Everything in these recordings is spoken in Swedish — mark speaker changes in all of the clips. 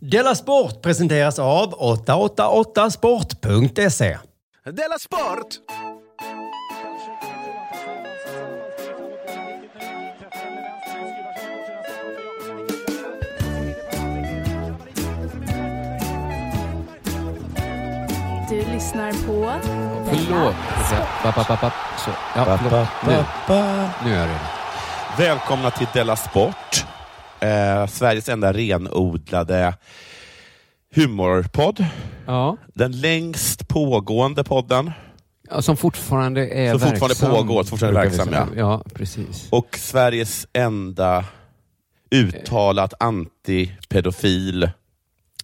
Speaker 1: Della Sport presenteras av 888sport.se.
Speaker 2: Della Sport!
Speaker 3: Du lyssnar på...
Speaker 4: Förlåt. Ba, ba, ba, ba. Så. Ja, förlåt. Nu. nu är jag redo.
Speaker 2: Välkomna till Della Sport. Eh, Sveriges enda renodlade humorpodd.
Speaker 4: Ja.
Speaker 2: Den längst pågående podden.
Speaker 4: Ja, Som fortfarande är
Speaker 2: Som fortfarande
Speaker 4: verksam,
Speaker 2: pågår, som fortfarande är
Speaker 4: brukar vi
Speaker 2: verksam,
Speaker 4: säga. ja. precis.
Speaker 2: Och Sveriges enda uttalat antipedofil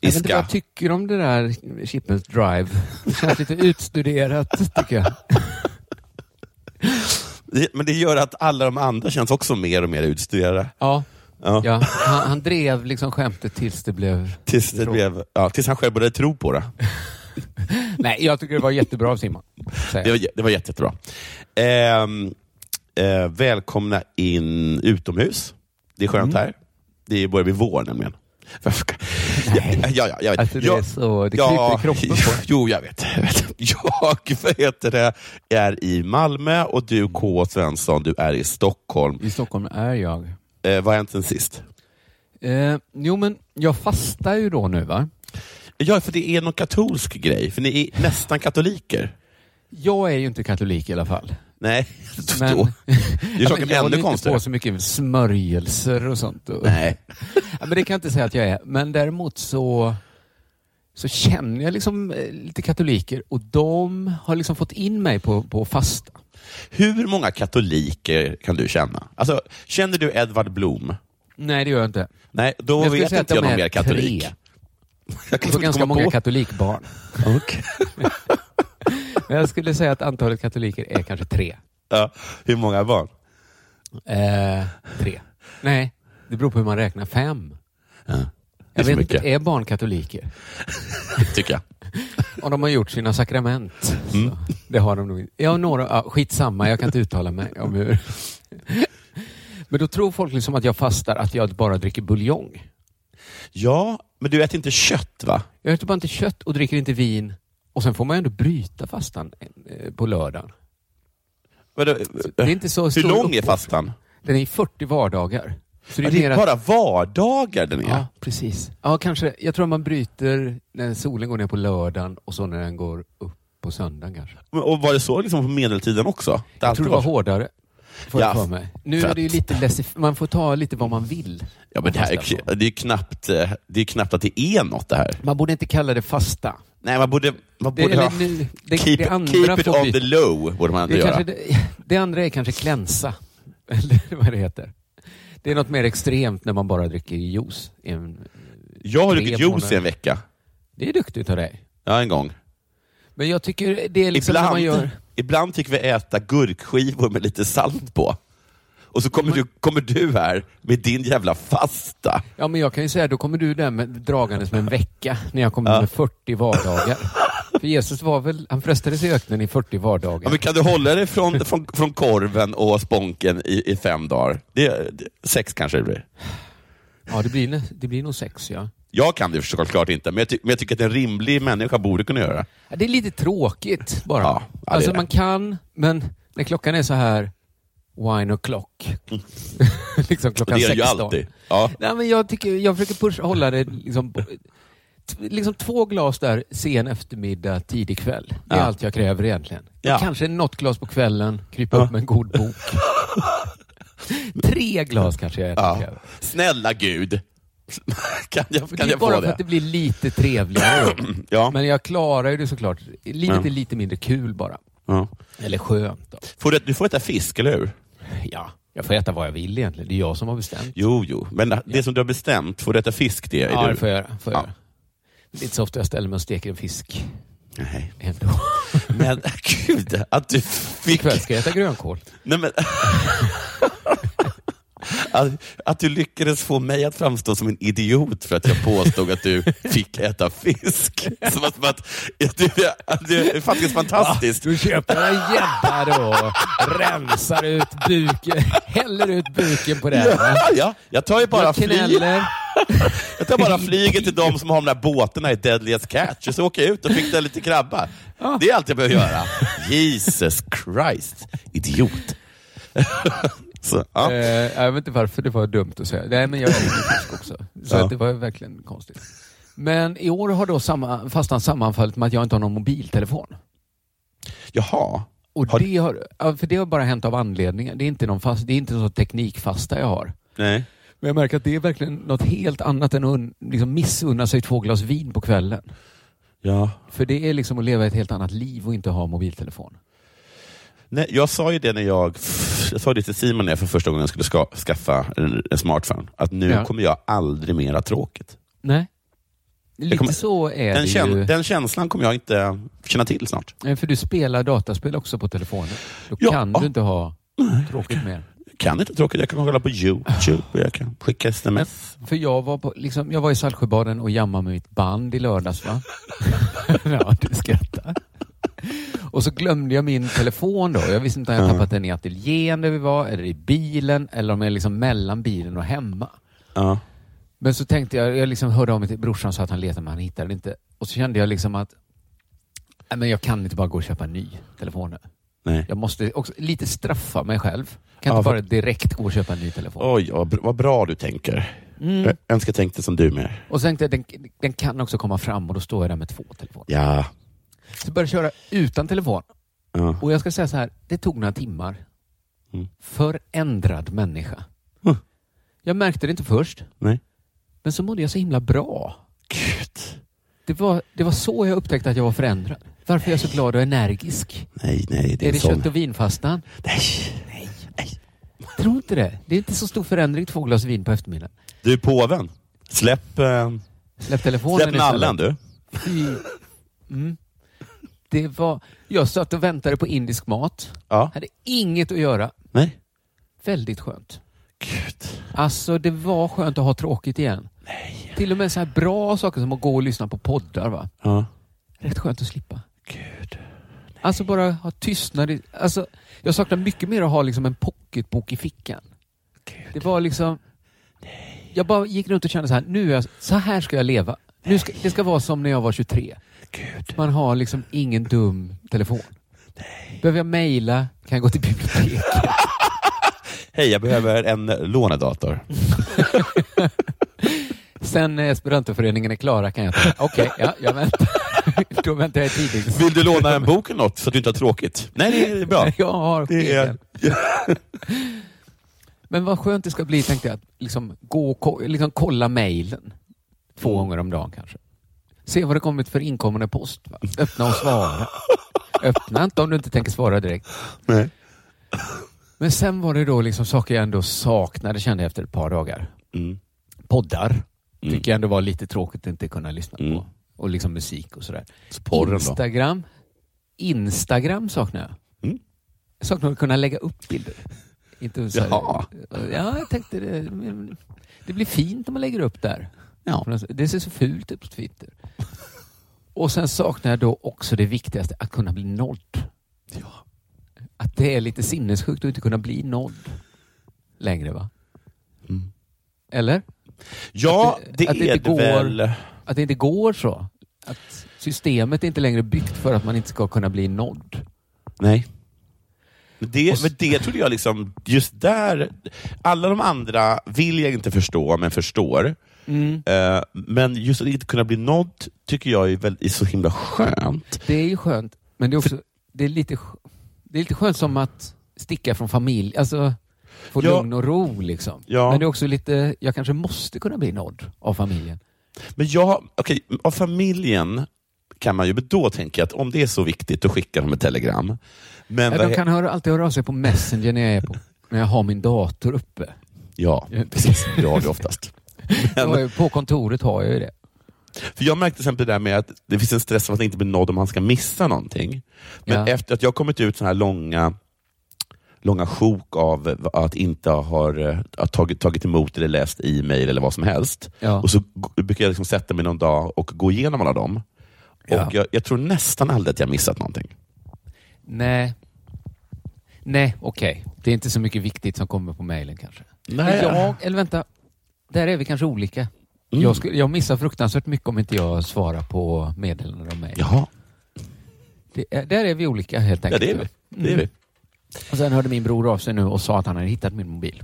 Speaker 4: Jag vet inte vad
Speaker 2: iska.
Speaker 4: jag tycker om det där Chippens Drive. Det känns lite utstuderat, tycker jag.
Speaker 2: Det- Men det gör att alla de andra känns också mer och mer utstuderade.
Speaker 4: Ja.
Speaker 2: Ja.
Speaker 4: Ja, han, han drev liksom skämtet tills det blev...
Speaker 2: Tills, det
Speaker 4: Tråkigt.
Speaker 2: blev, ja, tills han själv började tro på det.
Speaker 4: Nej, jag tycker det var jättebra av Simon.
Speaker 2: Det var, jä- det var jätte, jättebra. Ehm, eh, välkomna in utomhus. Det är skönt
Speaker 4: Mm.
Speaker 2: här. Det börjar bli vår nämligen. Varför- Ja, ja, ja, jag vet.
Speaker 4: Alltså, det
Speaker 2: Jag-
Speaker 4: är så- det kryper i kroppen på en.
Speaker 2: Jo, jag vet. Jag, vet. jag vad heter det, är i Malmö och du K. Svensson, du är i Stockholm.
Speaker 4: I Stockholm är jag.
Speaker 2: Eh, vad har hänt sen sist?
Speaker 4: Eh, jo, men jag fastar ju då nu, va?
Speaker 2: Ja, för det är någon katolsk grej, för ni är nästan katoliker.
Speaker 4: Jag är ju inte katolik i alla fall.
Speaker 2: Nej,
Speaker 4: Men-
Speaker 2: då. Det är
Speaker 4: Ja, men
Speaker 2: saken
Speaker 4: jag håller
Speaker 2: ännu
Speaker 4: inte på
Speaker 2: konstigare.
Speaker 4: så mycket smörjelser och sånt. Och-
Speaker 2: Nej.
Speaker 4: Ja, men det kan jag inte säga att jag är. Men däremot så, så känner jag liksom eh, lite katoliker och de har liksom fått in mig på, på fasta.
Speaker 2: Hur många katoliker kan du känna? Alltså, känner du Edvard Blom?
Speaker 4: Nej, det gör jag inte.
Speaker 2: Nej, då
Speaker 4: Jag skulle
Speaker 2: vet
Speaker 4: säga
Speaker 2: inte
Speaker 4: att
Speaker 2: jag
Speaker 4: de
Speaker 2: någon
Speaker 4: är
Speaker 2: mer katolik.
Speaker 4: tre.
Speaker 2: Jag
Speaker 4: Jag
Speaker 2: kan
Speaker 4: får
Speaker 2: inte
Speaker 4: ganska
Speaker 2: komma
Speaker 4: många
Speaker 2: på.
Speaker 4: katolikbarn. Men jag skulle säga att antalet katoliker är kanske tre.
Speaker 2: ja, hur många barn?
Speaker 4: Eh, tre. Nej, det beror på hur man räknar. Fem.
Speaker 2: Det är
Speaker 4: Jag
Speaker 2: så
Speaker 4: vet inte,
Speaker 2: mycket,
Speaker 4: är barn katoliker?
Speaker 2: tycker jag.
Speaker 4: Om de har gjort sina sakrament.
Speaker 2: Mm.
Speaker 4: Så, det har de nog inte. Ja, några, ja, skitsamma, jag kan inte uttala mig om hur. Men då tror folk liksom att jag fastar, att jag bara dricker buljong.
Speaker 2: Ja, men du äter inte kött va?
Speaker 4: Jag äter bara inte kött och dricker inte vin. Och sen får man ju ändå bryta fastan eh, på lördagen.
Speaker 2: Vadå?
Speaker 4: Det är inte så
Speaker 2: hur
Speaker 4: stor
Speaker 2: lång är
Speaker 4: uppoffring.
Speaker 2: fastan?
Speaker 4: Den är i 40 vardagar. Så
Speaker 2: Det är,
Speaker 4: mer att-
Speaker 2: bara vardagar den är.
Speaker 4: Ja, precis. Ja, kanske. Jag tror man bryter när solen går ner på lördagen och så när den går upp på söndagen kanske.
Speaker 2: Men- Och var det så liksom på medeltiden också? Det
Speaker 4: Jag tror det var hårdare. Får
Speaker 2: Ja,
Speaker 4: jag för mig. Nu
Speaker 2: för
Speaker 4: är det ju
Speaker 2: att-
Speaker 4: lite laissez- Man får ta lite vad man vill.
Speaker 2: Ja, men det, här är, k- det, är ju knappt, eh, det är knappt att det är något det här.
Speaker 4: Man borde inte kalla det fasta.
Speaker 2: Nej, man borde, man
Speaker 4: Det,
Speaker 2: borde
Speaker 4: eller
Speaker 2: ha...
Speaker 4: nu- det,
Speaker 2: keep,
Speaker 4: det andra
Speaker 2: keep it
Speaker 4: får
Speaker 2: on
Speaker 4: bli-
Speaker 2: the low, borde man ändå
Speaker 4: det, är
Speaker 2: göra.
Speaker 4: kanske, det, det andra är kanske klänsa. Eller vad det heter. Det är något mer extremt när man bara dricker juice. i en-
Speaker 2: Jag har
Speaker 4: Tre
Speaker 2: druckit juice i
Speaker 4: månader.
Speaker 2: en vecka.
Speaker 4: Det är duktigt av dig.
Speaker 2: Ja, en gång.
Speaker 4: Men jag tycker det är liksom när
Speaker 2: ibland,
Speaker 4: man gör...
Speaker 2: ibland fick vi äta gurkskivor med lite salt på. Och så kommer du, kommer du här med din jävla fasta.
Speaker 4: Ja, men jag kan ju säga, då kommer du där med, dragandes med en vecka när jag kommer med 40 vardagar. För Jesus var väl, han frestades i öknen i 40 vardagar.
Speaker 2: Ja, men kan du hålla dig från, från, från korven och sponken i, i fem dagar? Det, det, sex kanske det blir.
Speaker 4: Ja, det blir, nä- det blir nog sex, ja.
Speaker 2: Jag kan det såklart inte, men jag, ty, men jag tycker att en rimlig människa borde kunna göra det.
Speaker 4: ja. Det är lite tråkigt bara.
Speaker 2: Ja, ja, det
Speaker 4: alltså
Speaker 2: är det.
Speaker 4: man kan, men när klockan är så här, wine o'clock. liksom klockan
Speaker 2: Det gör det ju
Speaker 4: 16.
Speaker 2: alltid. Ja.
Speaker 4: Nej, men jag, tycker, jag försöker push, hålla det liksom, t- liksom två glas där sen eftermiddag, tidig kväll. Det är
Speaker 2: Ja.
Speaker 4: allt jag kräver egentligen.
Speaker 2: Ja.
Speaker 4: Och kanske något glas på kvällen, krypa
Speaker 2: Ja.
Speaker 4: upp med en god bok. Tre glas kanske jag
Speaker 2: Ja.
Speaker 4: kräver.
Speaker 2: Snälla gud. kan jag,
Speaker 4: Men
Speaker 2: kan
Speaker 4: det är
Speaker 2: jag
Speaker 4: bara
Speaker 2: få
Speaker 4: för
Speaker 2: det?
Speaker 4: att det blir lite trevligare. då.
Speaker 2: Ja.
Speaker 4: Men jag klarar ju det såklart. Livet
Speaker 2: Ja.
Speaker 4: är lite mindre kul bara.
Speaker 2: Ja.
Speaker 4: Eller skönt. Då.
Speaker 2: Får du, du får äta fisk, eller hur?
Speaker 4: Ja, jag får äta vad jag vill egentligen. Det är jag som har bestämt.
Speaker 2: Jo, jo. Men det som du har bestämt, får du äta fisk det? Är
Speaker 4: Ja,
Speaker 2: du?
Speaker 4: det får jag göra. Får jag
Speaker 2: Ja.
Speaker 4: göra. Det är inte så ofta jag ställer mig och steker en fisk
Speaker 2: Nej.
Speaker 4: ändå.
Speaker 2: Men gud, att du fick...
Speaker 4: Ikväll ska jag äta grönkål.
Speaker 2: Nej, men... att, att du lyckades få mig att framstå som en idiot för att jag påstod att du fick äta fisk. Som att, som att, att du, att du är faktiskt fantastiskt.
Speaker 4: Du köper jag en gädda då, rensar ut buken, häller ut buken på den.
Speaker 2: Ja, ja, jag tar ju bara
Speaker 4: jag
Speaker 2: flyg.
Speaker 4: knäller.
Speaker 2: Jag tar bara flyget till de som har de där båtarna i Deadliest Catch och så åker jag ut och fixar lite krabba. Det är allt jag behöver göra. Jesus Christ, idiot. så,
Speaker 4: Eh,
Speaker 2: ja.
Speaker 4: jag vet inte varför det var dumt att säga. Nej, men jag är ju fisk också. Så
Speaker 2: Ja.
Speaker 4: att det var ju verkligen konstigt. Men i år har då samma, fastan sammanfallit med att jag inte har någon mobiltelefon.
Speaker 2: Jaha.
Speaker 4: Och
Speaker 2: Har-
Speaker 4: det, har, ja, för det har bara hänt av anledningar. Det är inte någon fast, det är inte någon sån teknikfasta jag har.
Speaker 2: Nej.
Speaker 4: Men jag märker att det är verkligen något helt annat än att un, liksom missunna sig två glas vin på kvällen.
Speaker 2: Ja.
Speaker 4: För det är liksom att leva ett helt annat liv och inte ha mobiltelefon.
Speaker 2: Nej, jag sa ju det när jag, jag sa det till Simon när jag för första gången skulle ska, skaffa en, en smartphone, att nu
Speaker 4: Ja.
Speaker 2: kommer jag aldrig mer ha tråkigt.
Speaker 4: Nej. Lite
Speaker 2: kommer-
Speaker 4: så är
Speaker 2: Den,
Speaker 4: det
Speaker 2: kän,
Speaker 4: ju.
Speaker 2: den känslan kommer jag inte känna till snart.
Speaker 4: Nej, För du spelar dataspel också på telefonen. Då
Speaker 2: Ja.
Speaker 4: kan du inte ha tråkigt mer.
Speaker 2: Jag kan inte ha tråkigt, jag kan kolla på YouTube, och jag kan skicka sms.
Speaker 4: För jag var, på, liksom, jag var i Saltsjöbaden och jammade med mitt band i lördags. Va? ja, du skrattar. Och så glömde jag min telefon då. Jag visste inte om jag tappat den i ateljén där vi var, eller i bilen, eller om jag liksom mellan bilen och hemma.
Speaker 2: Ja.
Speaker 4: Men så tänkte jag, jag liksom hörde av mig till brorsan så att han letade men han hittade den inte. Och så kände jag liksom att nej, men jag kan inte bara gå och köpa en ny telefon nu.
Speaker 2: Nej.
Speaker 4: Jag måste också lite straffa mig själv. Kan
Speaker 2: Ja,
Speaker 4: inte
Speaker 2: för-
Speaker 4: bara direkt gå och köpa en ny telefon.
Speaker 2: Oj, vad br- vad bra du tänker.
Speaker 4: Mm.
Speaker 2: Jag önskar jag tänkte som du mer.
Speaker 4: Och så tänkte jag, den, den kan också komma fram och då står jag där med två telefoner.
Speaker 2: Ja.
Speaker 4: Så jag började köra utan telefon.
Speaker 2: ja.
Speaker 4: Och jag ska säga så här, det tog några timmar.
Speaker 2: Mm.
Speaker 4: Förändrad människa.
Speaker 2: Huh.
Speaker 4: Jag märkte det inte först,
Speaker 2: Nej.
Speaker 4: men så mådde jag så himla bra.
Speaker 2: Gud.
Speaker 4: Det var, det var så jag upptäckte att jag var förändrad. Varför är jag så glad och energisk?
Speaker 2: Nej, nej, det
Speaker 4: Är
Speaker 2: är,
Speaker 4: det
Speaker 2: en sån.
Speaker 4: kött och vinfastan?
Speaker 2: Nej.
Speaker 4: Tror inte det. Det är inte så stor förändring två glas vin på eftermiddagen.
Speaker 2: Du är påven. Släpp, eh,
Speaker 4: Släpp telefonen
Speaker 2: släpp
Speaker 4: istället.
Speaker 2: nallen du.
Speaker 4: Fy. Mm. Det var... Jag satt och väntade på indisk mat.
Speaker 2: Ja.
Speaker 4: Hade inget att göra.
Speaker 2: Nej.
Speaker 4: Väldigt skönt.
Speaker 2: Gud.
Speaker 4: Alltså det var skönt att ha tråkigt igen. Nej. Till och med så här bra saker som att gå och lyssna på poddar. Va?
Speaker 2: Ja.
Speaker 4: Rätt skönt att slippa.
Speaker 2: Gud.
Speaker 4: Alltså bara ha tystnad. I, alltså, jag saknar mycket mer att ha liksom en pocketbok i fickan.
Speaker 2: Gud.
Speaker 4: Det var liksom... Jag bara gick runt och kände så här, nu är jag, så här ska jag leva. Nu ska, det ska vara som när jag var 23.
Speaker 2: Gud.
Speaker 4: Man har liksom ingen dum telefon. Behöver jag mejla kan jag gå till biblioteket.
Speaker 2: Hej, jag behöver en lånedator.
Speaker 4: Sen när Esperantoföreningen är klara kan jag ta Okej, ja, jag väntar. Då väntar jag i tidnings...
Speaker 2: Vill du låna en bok eller något så att du inte har tråkigt? Nej, det är bra.
Speaker 4: Jag har
Speaker 2: Det är...
Speaker 4: skiten. Men vad skönt det ska bli tänkte jag. Att liksom gå och ko- liksom kolla mejlen.
Speaker 2: Mm.
Speaker 4: Två gånger om dagen kanske. Se vad det kommit för inkommande post. Va? Öppna och svara. Öppna inte om du inte tänker svara direkt.
Speaker 2: Nej.
Speaker 4: Men sen var det då liksom saker jag ändå saknade kände jag efter ett par dagar.
Speaker 2: Mm.
Speaker 4: Poddar tycker jag ändå var lite tråkigt att inte kunna lyssna
Speaker 2: Mm.
Speaker 4: på. Och liksom musik och sådär.
Speaker 2: Så porren då?
Speaker 4: Instagram. Instagram saknar jag.
Speaker 2: Mm.
Speaker 4: Jag saknar att kunna lägga upp bilder. Inte så här,
Speaker 2: Jaha.
Speaker 4: Ja, jag tänkte det. men Det blir fint om man lägger upp där.
Speaker 2: Ja.
Speaker 4: Det ser så fult ut på Twitter. Och sen saknar jag då också det viktigaste, att kunna bli nådd. Att det är lite sinnessjukt att inte kunna bli nådd längre, va?
Speaker 2: Mm.
Speaker 4: Eller?
Speaker 2: Ja,
Speaker 4: Att det-
Speaker 2: det
Speaker 4: att det
Speaker 2: är
Speaker 4: inte
Speaker 2: det väl.
Speaker 4: Att det inte går så. Att systemet är inte längre byggt för att man inte ska kunna bli nådd.
Speaker 2: Nej. Det, men det trodde jag liksom, just där, alla de andra vill jag inte förstå, men förstår.
Speaker 4: Mm.
Speaker 2: Eh, men just att inte kunna bli nådd tycker jag är, väl, är så himla skönt.
Speaker 4: Det är ju skönt, men det är också det är lite, sk- det är lite skönt som att sticka från familj. Alltså, få
Speaker 2: Ja.
Speaker 4: lugn och ro liksom.
Speaker 2: Ja.
Speaker 4: Men det är också lite, jag kanske måste kunna bli nådd av familjen.
Speaker 2: Men jag, okej, av familjen kan man ju, men då tänker jag att om det är så viktigt, då skickar de ett telegram. Men
Speaker 4: Ja,
Speaker 2: vad
Speaker 4: de
Speaker 2: he-
Speaker 4: kan höra, alltid höra av sig på Messenger när jag, är på, när jag har min dator uppe.
Speaker 2: Ja, precis. Det har du oftast.
Speaker 4: Jag har
Speaker 2: Men,
Speaker 4: ju- På kontoret har jag ju det.
Speaker 2: för jag märkte till exempel det där med att det finns en stress av att inte bli nådd om man ska missa någonting. Men
Speaker 4: Ja.
Speaker 2: efter att jag kommit ut sådana här långa långa sjok av att inte har eh, att tagit, tagit emot eller läst e-mail eller vad som helst.
Speaker 4: Ja.
Speaker 2: Och så g- brukar jag liksom sätta mig någon dag och gå igenom alla dem.
Speaker 4: Ja.
Speaker 2: Och jag, jag tror nästan aldrig att jag missat någonting.
Speaker 4: Nej. Nej, okej. Det är inte så mycket viktigt som kommer på mejlen kanske.
Speaker 2: Nej.
Speaker 4: Men Jag, eller vänta. Där är vi kanske olika. Jag, skulle, jag missar fruktansvärt mycket om inte jag svarar på meddelanden om mejl.
Speaker 2: Jaha,
Speaker 4: Det är- Där är vi olika helt
Speaker 2: ja,
Speaker 4: enkelt.
Speaker 2: det är vi. Det är
Speaker 4: Mm.
Speaker 2: vi.
Speaker 4: Och sen hörde min bror av sig nu och sa att han hade hittat min mobil.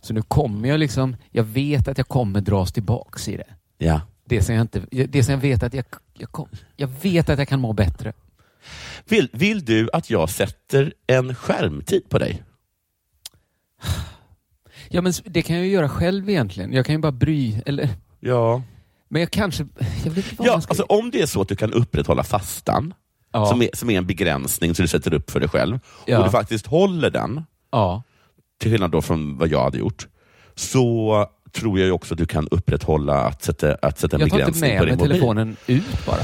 Speaker 4: Så nu kommer jag liksom, jag vet att jag kommer dras tillbaks i det.
Speaker 2: Ja.
Speaker 4: Det som jag, inte, det som jag vet att jag, jag, kom, jag vet att jag kan må bättre.
Speaker 2: Vill, vill du att jag sätter en skärmtid på dig?
Speaker 4: Ja men s- det kan jag ju göra själv egentligen. Jag kan ju bara bry, eller
Speaker 2: Ja.
Speaker 4: Men jag kanske... Jag vet inte vad
Speaker 2: ja
Speaker 4: man ska...
Speaker 2: alltså, om det är så att du kan upprätthålla fastan,
Speaker 4: Ja.
Speaker 2: som, är, som är en begränsning som du sätter upp för dig själv,
Speaker 4: Ja.
Speaker 2: och du faktiskt håller den,
Speaker 4: ja.
Speaker 2: till skillnad då från vad jag hade gjort, så tror jag ju också att du kan upprätthålla att sätta, att sätta en
Speaker 4: Jag tar inte
Speaker 2: begränsning på
Speaker 4: med mig
Speaker 2: din mobil.
Speaker 4: telefonen ut bara.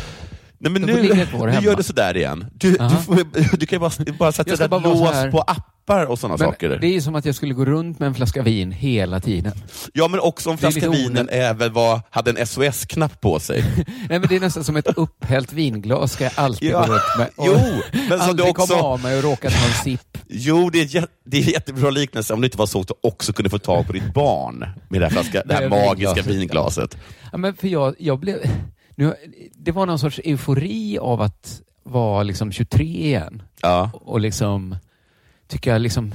Speaker 2: Nej, men
Speaker 4: Den
Speaker 2: nu,
Speaker 4: får ligga kvar
Speaker 2: nu
Speaker 4: hemma.
Speaker 2: gör du sådär igen. Du, du,
Speaker 4: Aha.
Speaker 2: får, du kan ju bara, bara sätta
Speaker 4: Jag ska
Speaker 2: där
Speaker 4: bara vara så
Speaker 2: lås
Speaker 4: här.
Speaker 2: på appar och sådana
Speaker 4: Men
Speaker 2: saker.
Speaker 4: det är ju som att jag skulle gå runt med en flaska vin hela tiden.
Speaker 2: ja, men också om
Speaker 4: det är lite
Speaker 2: flaskan vinen
Speaker 4: onödigt.
Speaker 2: även var, hade en SOS-knapp på sig.
Speaker 4: Nej, men det är nästan som ett upphällt vinglas ska jag alltid
Speaker 2: Ja.
Speaker 4: gå runt med.
Speaker 2: Jo, men som du
Speaker 4: aldrig
Speaker 2: också-
Speaker 4: komma av mig och råka ta en sipp.
Speaker 2: Jo, det är, jä- det är en jättebra liknelse om det inte var så att du också kunde få tag på ditt barn med det här, flaska, det här
Speaker 4: Med
Speaker 2: magiska
Speaker 4: vinglaset.
Speaker 2: vinglaset.
Speaker 4: Ja, men för jag, jag blev... Nu, det var någon sorts eufori av att vara liksom 23 igen.
Speaker 2: Ja.
Speaker 4: Och liksom... Tycker jag liksom...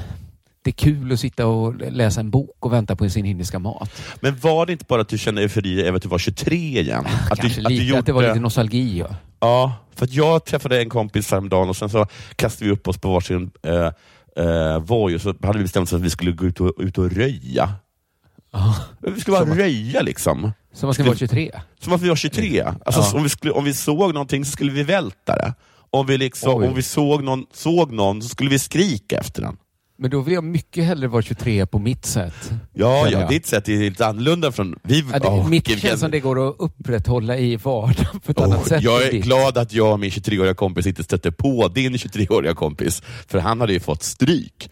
Speaker 4: Det är kul att sitta och läsa en bok och vänta på sin indiska mat.
Speaker 2: Men var det inte bara att du kände eufori över att du var 23 igen? Att du,
Speaker 4: Kanske lite, att det var lite nostalgi. Ja.
Speaker 2: Ja, för att jag träffade en kompis häromdagen och sen så kastade vi upp oss på varsin eh, eh, voj och så hade vi bestämt oss att vi skulle gå ut och, ut och röja. Vi skulle bara röja liksom.
Speaker 4: Så man ska vara 23?
Speaker 2: Som att vi var 23. Alltså,
Speaker 4: Ja.
Speaker 2: så om, vi skulle, om vi såg någonting så skulle vi välta det. Om vi, liksom,
Speaker 4: Oj.
Speaker 2: om vi såg, någon, såg någon så skulle vi skrika efter den.
Speaker 4: Men då vill jag mycket hellre vara 23 på mitt sätt.
Speaker 2: Ja,
Speaker 4: Känner
Speaker 2: ja,
Speaker 4: jag.
Speaker 2: ditt sätt är lite annorlunda från... Vi,
Speaker 4: Ja, det,
Speaker 2: Åh,
Speaker 4: mitt
Speaker 2: vilken-
Speaker 4: känns som det går att upprätthålla i vardagen på ett annat
Speaker 2: Åh,
Speaker 4: sätt.
Speaker 2: jag är
Speaker 4: än ditt.
Speaker 2: glad att jag och min 23-åriga kompis inte stötte på din 23-åriga kompis, för han hade ju fått stryk.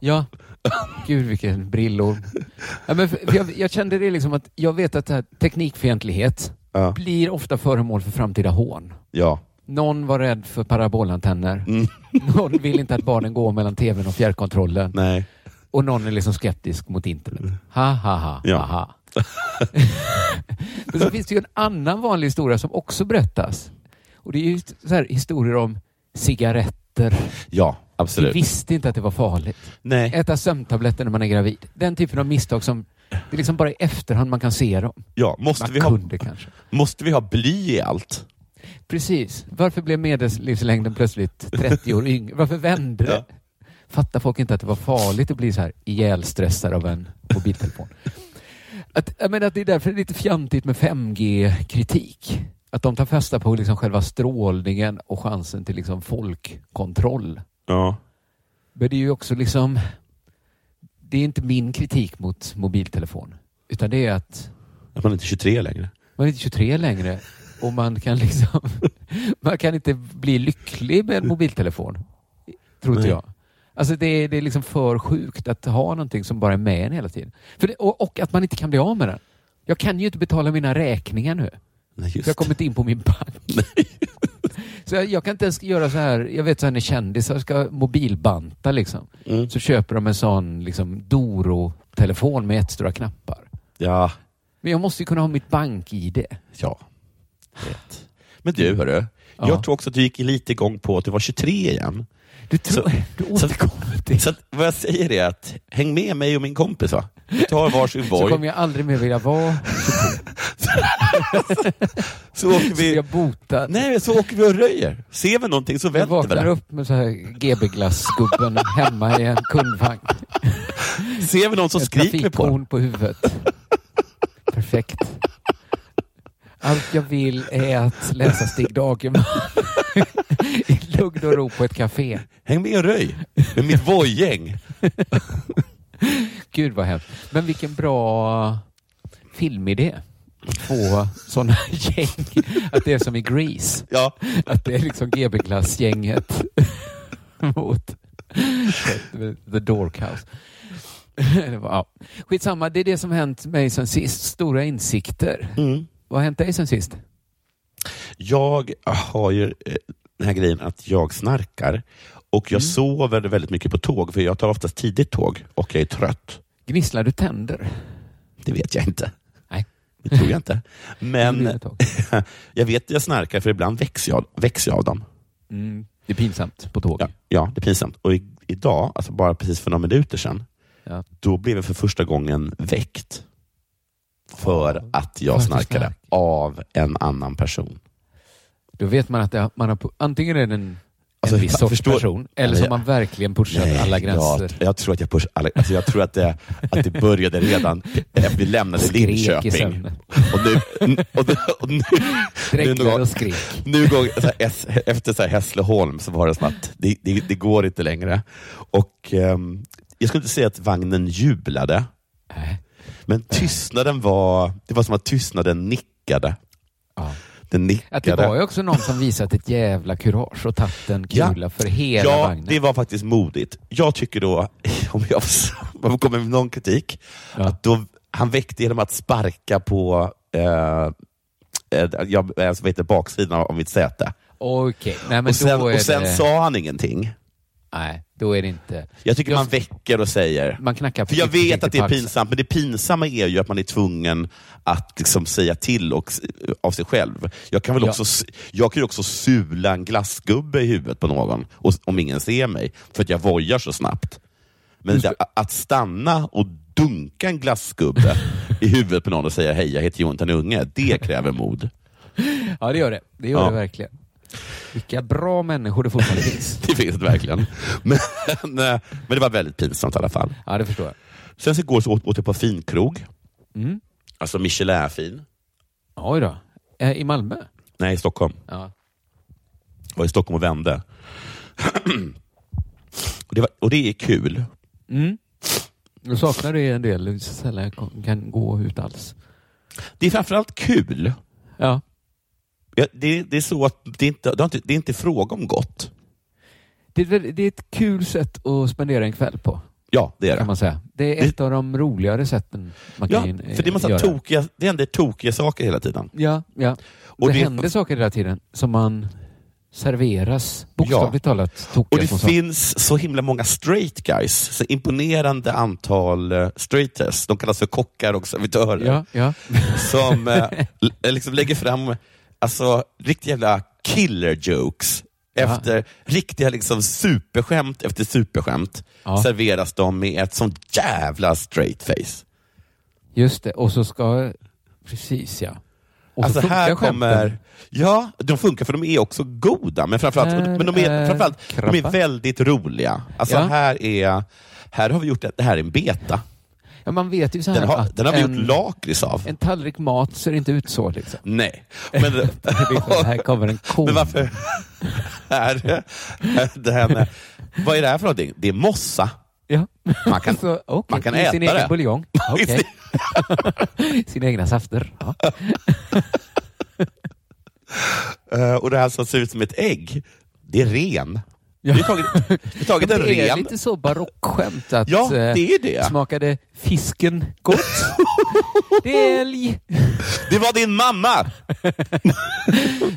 Speaker 4: Ja. Gud vilken brillor. Ja, men för, för jag, jag kände det liksom att jag vet att det här teknikfientlighet
Speaker 2: Ja.
Speaker 4: blir ofta föremål för framtida hån.
Speaker 2: Ja.
Speaker 4: Någon var rädd för parabolantenner.
Speaker 2: Mm.
Speaker 4: Någon vill inte att barnen går mellan tvn och fjärrkontrollen.
Speaker 2: Nej.
Speaker 4: Och någon är liksom skeptisk mot internet. Ha, ha, ha,
Speaker 2: Mm. Ja.
Speaker 4: ha, ha. Men så finns det ju en annan vanlig historia som också berättas. Och det är ju så här historier om cigaretter.
Speaker 2: Ja,
Speaker 4: Vi
Speaker 2: absolut.
Speaker 4: visste inte att det var farligt.
Speaker 2: Nej.
Speaker 4: Äta sömntabletter när man är gravid. Den typen av misstag som det är liksom bara i efterhand man kan se dem.
Speaker 2: Ja, måste,
Speaker 4: Man
Speaker 2: vi ha,
Speaker 4: kunde kanske.
Speaker 2: måste vi ha bly i allt?
Speaker 4: Precis. Varför blev medellivslängden plötsligt 30 år yngre? Varför vände det?
Speaker 2: Ja.
Speaker 4: Fattar folk inte att det var farligt att bli så här ihjälstressad av en mobiltelefon? Att, jag menar att det är därför det är lite fjantigt med 5G-kritik. Att de tar fasta på liksom själva strålningen och chansen till liksom folkkontroll.
Speaker 2: Ja.
Speaker 4: Men det är ju också liksom... Det är inte min kritik mot mobiltelefon. Utan det är att
Speaker 2: Att man inte är 23 längre.
Speaker 4: man är inte 23 längre och man kan liksom... Man kan inte bli lycklig med en mobiltelefon. Tror inte
Speaker 2: Nej.
Speaker 4: jag. Alltså det är, det är liksom för sjukt att ha någonting som bara är med en hela tiden. För det, och, och att man inte kan bli av med den. Jag kan ju inte betala mina räkningar nu.
Speaker 2: Nej, just
Speaker 4: För jag har kommit in på min bank. så jag, jag kan inte ens göra så här. Jag vet så här när kändisar ska mobilbanta liksom.
Speaker 2: Mm.
Speaker 4: Så köper de en sån liksom Doro-telefon med jättestora knappar.
Speaker 2: Ja.
Speaker 4: Men jag måste ju kunna ha mitt bank-id.
Speaker 2: Ja. Vet. Men du, hörru.
Speaker 4: Ja.
Speaker 2: Jag tror också att du gick lite igång på att du var 23 igen.
Speaker 4: Du, tror,
Speaker 2: Så-
Speaker 4: du återkommer till
Speaker 2: Så
Speaker 4: så,
Speaker 2: att, vad jag säger är att häng med mig och min kompis. Va? Vi tar varsin
Speaker 4: så
Speaker 2: boy, så,
Speaker 4: kommer jag aldrig mer vilja vara
Speaker 2: åker
Speaker 4: så
Speaker 2: vi...
Speaker 4: jag botad.
Speaker 2: Nej, men så åker vi och röjer. Ser vi någonting så
Speaker 4: jag
Speaker 2: välter vi
Speaker 4: vaknar
Speaker 2: det.
Speaker 4: upp med så här GB-glassgubben hemma i en kundvagn.
Speaker 2: Ser vi någon som
Speaker 4: Ett
Speaker 2: skriker på den.
Speaker 4: trafikhorn på huvudet. Perfekt. Allt jag vill är att läsa Stig Dagerman i lugn och ro på ett café.
Speaker 2: Häng med och röj med mitt vojgäng.
Speaker 4: Gud vad hemskt. Men vilken bra filmidé. Två sådana gäng. Att det är som i Grease.
Speaker 2: Ja.
Speaker 4: Att det är liksom GB-glassgänget mot The Dorkhouse. Det var- ja. Skitsamma, det är det som hänt mig sen sist. Stora insikter.
Speaker 2: Mm.
Speaker 4: Vad har hänt dig sen sist?
Speaker 2: Jag har ju eh, den här grejen att jag snarkar och
Speaker 4: Mm.
Speaker 2: jag sover väldigt mycket på tåg, för jag tar oftast tidigt tåg och jag är trött.
Speaker 4: Gnisslar du tänder?
Speaker 2: Det vet jag inte.
Speaker 4: Nej.
Speaker 2: Det tror jag inte. Men
Speaker 4: Det blir ett tag.
Speaker 2: jag vet att jag snarkar, för ibland växer jag, växer jag av dem.
Speaker 4: Mm. Det är pinsamt på tåg.
Speaker 2: Ja, ja, det är pinsamt. Och i, idag, alltså bara precis för några minuter sedan,
Speaker 4: Ja.
Speaker 2: då blev jag för första gången väckt för att
Speaker 4: för
Speaker 2: jag
Speaker 4: att du
Speaker 2: snarkade
Speaker 4: snarkade.
Speaker 2: av en annan person.
Speaker 4: Då vet man att det, man har, antingen är det en,
Speaker 2: Alltså,
Speaker 4: en viss
Speaker 2: jag
Speaker 4: sorts
Speaker 2: förstår-
Speaker 4: person eller så har man verkligen pushat alla gränser.
Speaker 2: Ja, jag tror att jag push, alla, alltså jag tror att det, att det började redan när vi lämnade
Speaker 4: Skrek i
Speaker 2: Linköping.
Speaker 4: sömnen.
Speaker 2: Och nu, och, och nu, nu,
Speaker 4: Dräcklade
Speaker 2: någon-
Speaker 4: och skrek.
Speaker 2: nu går, så här, S- efter så här Hässleholm så var det som att det, det, det går inte längre. Och, ehm, jag skulle inte säga att vagnen jublade,
Speaker 4: Nej.
Speaker 2: men tystnaden var, det var som att tystnaden nickade.
Speaker 4: Ja.
Speaker 2: Den
Speaker 4: Att det
Speaker 2: nickade.
Speaker 4: var ju också någon som visat ett jävla kurage och tagit en
Speaker 2: Ja.
Speaker 4: kula för hela
Speaker 2: ja,
Speaker 4: vagnen.
Speaker 2: det var faktiskt modigt. Jag tycker då, om jag, om jag kommer med någon kritik,
Speaker 4: Ja.
Speaker 2: att då, han väckte genom att sparka på eh, eh, jag, eh, vad heter, det, baksidan av mitt säte.
Speaker 4: Okej, nej men
Speaker 2: Och sen,
Speaker 4: då är
Speaker 2: och sen
Speaker 4: det...
Speaker 2: sa han ingenting.
Speaker 4: Nej, då är det inte...
Speaker 2: Jag tycker
Speaker 4: Jag-
Speaker 2: man väcker och säger.
Speaker 4: Man knackar på
Speaker 2: För jag
Speaker 4: försiktigt
Speaker 2: vet att det är
Speaker 4: på axeln.
Speaker 2: pinsamt, men det pinsamma är ju att man är tvungen att liksom säga till och, s- av sig själv. Jag kan, väl
Speaker 4: Ja.
Speaker 2: också, s- jag kan ju också sula en glassgubbe i huvudet på någon och, s- om ingen ser mig, för att jag vojar så snabbt. Men det, att stanna och dunka en glassgubbe i huvudet på någon och säga hej, jag heter Jonathan Unge, det kräver mod.
Speaker 4: Ja, det gör det. Det gör
Speaker 2: Ja.
Speaker 4: det verkligen. Vilka bra människor det fortfarande finns.
Speaker 2: Det finns det verkligen. Men, eh, men det var väldigt pinsamt i alla fall.
Speaker 4: Ja, det förstår jag.
Speaker 2: Sen så går så åt, åt ett par finkrog.
Speaker 4: Mm.
Speaker 2: Alltså Michelin-fin.
Speaker 4: Oj då. Eh, I Malmö?
Speaker 2: Nej, i Stockholm.
Speaker 4: Ja.
Speaker 2: var i Stockholm och vände. och, det var, och det är kul.
Speaker 4: Jag saknar det en del. Det är så Sällan jag kom- kan gå ut alls.
Speaker 2: Det är framförallt kul.
Speaker 4: Ja.
Speaker 2: Ja, det, det är så att det är inte, det har inte, det är inte fråga om gott.
Speaker 4: Det är, väl- det är ett kul sätt att spendera en kväll på,
Speaker 2: Ja, det är
Speaker 4: kan
Speaker 2: det.
Speaker 4: man säga. Det är ett av de roligare sätten man
Speaker 2: Ja,
Speaker 4: kan eh,
Speaker 2: för det, är massa
Speaker 4: göra.
Speaker 2: tokiga, det händer tokiga saker hela tiden.
Speaker 4: Ja, ja.
Speaker 2: Och
Speaker 4: det,
Speaker 2: det-
Speaker 4: händer saker hela tiden som man serveras, bokstavligt talat,
Speaker 2: Och
Speaker 4: tokiga
Speaker 2: det
Speaker 4: små saker.
Speaker 2: finns så himla många straight guys. Så imponerande antal eh, straighters. De kallas för kockar och servitörer.
Speaker 4: Ja, ja.
Speaker 2: Som eh, l- liksom lägger fram alltså, riktiga jävla killer jokes. Efter riktiga liksom, superskämt efter superskämt
Speaker 4: Ja.
Speaker 2: serveras de med ett sånt jävla straight face.
Speaker 4: Just det, och så ska... Precis ja. Och så
Speaker 2: Alltså
Speaker 4: funkar
Speaker 2: här
Speaker 4: skämten.
Speaker 2: kommer... Ja, de funkar för de är också goda, men framförallt,
Speaker 4: Här
Speaker 2: men de är,
Speaker 4: är
Speaker 2: framförallt de är
Speaker 4: krabba.
Speaker 2: väldigt roliga. Alltså
Speaker 4: Ja.
Speaker 2: här är... Här har vi gjort ett, det här är en beta.
Speaker 4: Ja, man vet ju så här
Speaker 2: Den har,
Speaker 4: att
Speaker 2: den har vi
Speaker 4: en,
Speaker 2: gjort lakrits av.
Speaker 4: en tallrik mat ser inte ut så liksom.
Speaker 2: Nej. Men,
Speaker 4: här kommer en ko.
Speaker 2: Men varför? här, det här med, vad är det här för någonting? Det är mossa.
Speaker 4: Ja.
Speaker 2: Man kan,
Speaker 4: Så, Alltså, okej,
Speaker 2: man kan
Speaker 4: i
Speaker 2: äta
Speaker 4: sin
Speaker 2: det.
Speaker 4: egen buljong.
Speaker 2: I
Speaker 4: Okej. Sina egna safter. Ja.
Speaker 2: Eh, och det här som ser ut som ett ägg, det är ren. Vi har tagit, vi har tagit en
Speaker 4: Det är
Speaker 2: ren.
Speaker 4: lite så barockskämt att
Speaker 2: Ja, det
Speaker 4: eh,
Speaker 2: är det.
Speaker 4: smakade fisken gott? det är älg.
Speaker 2: Det var din mamma!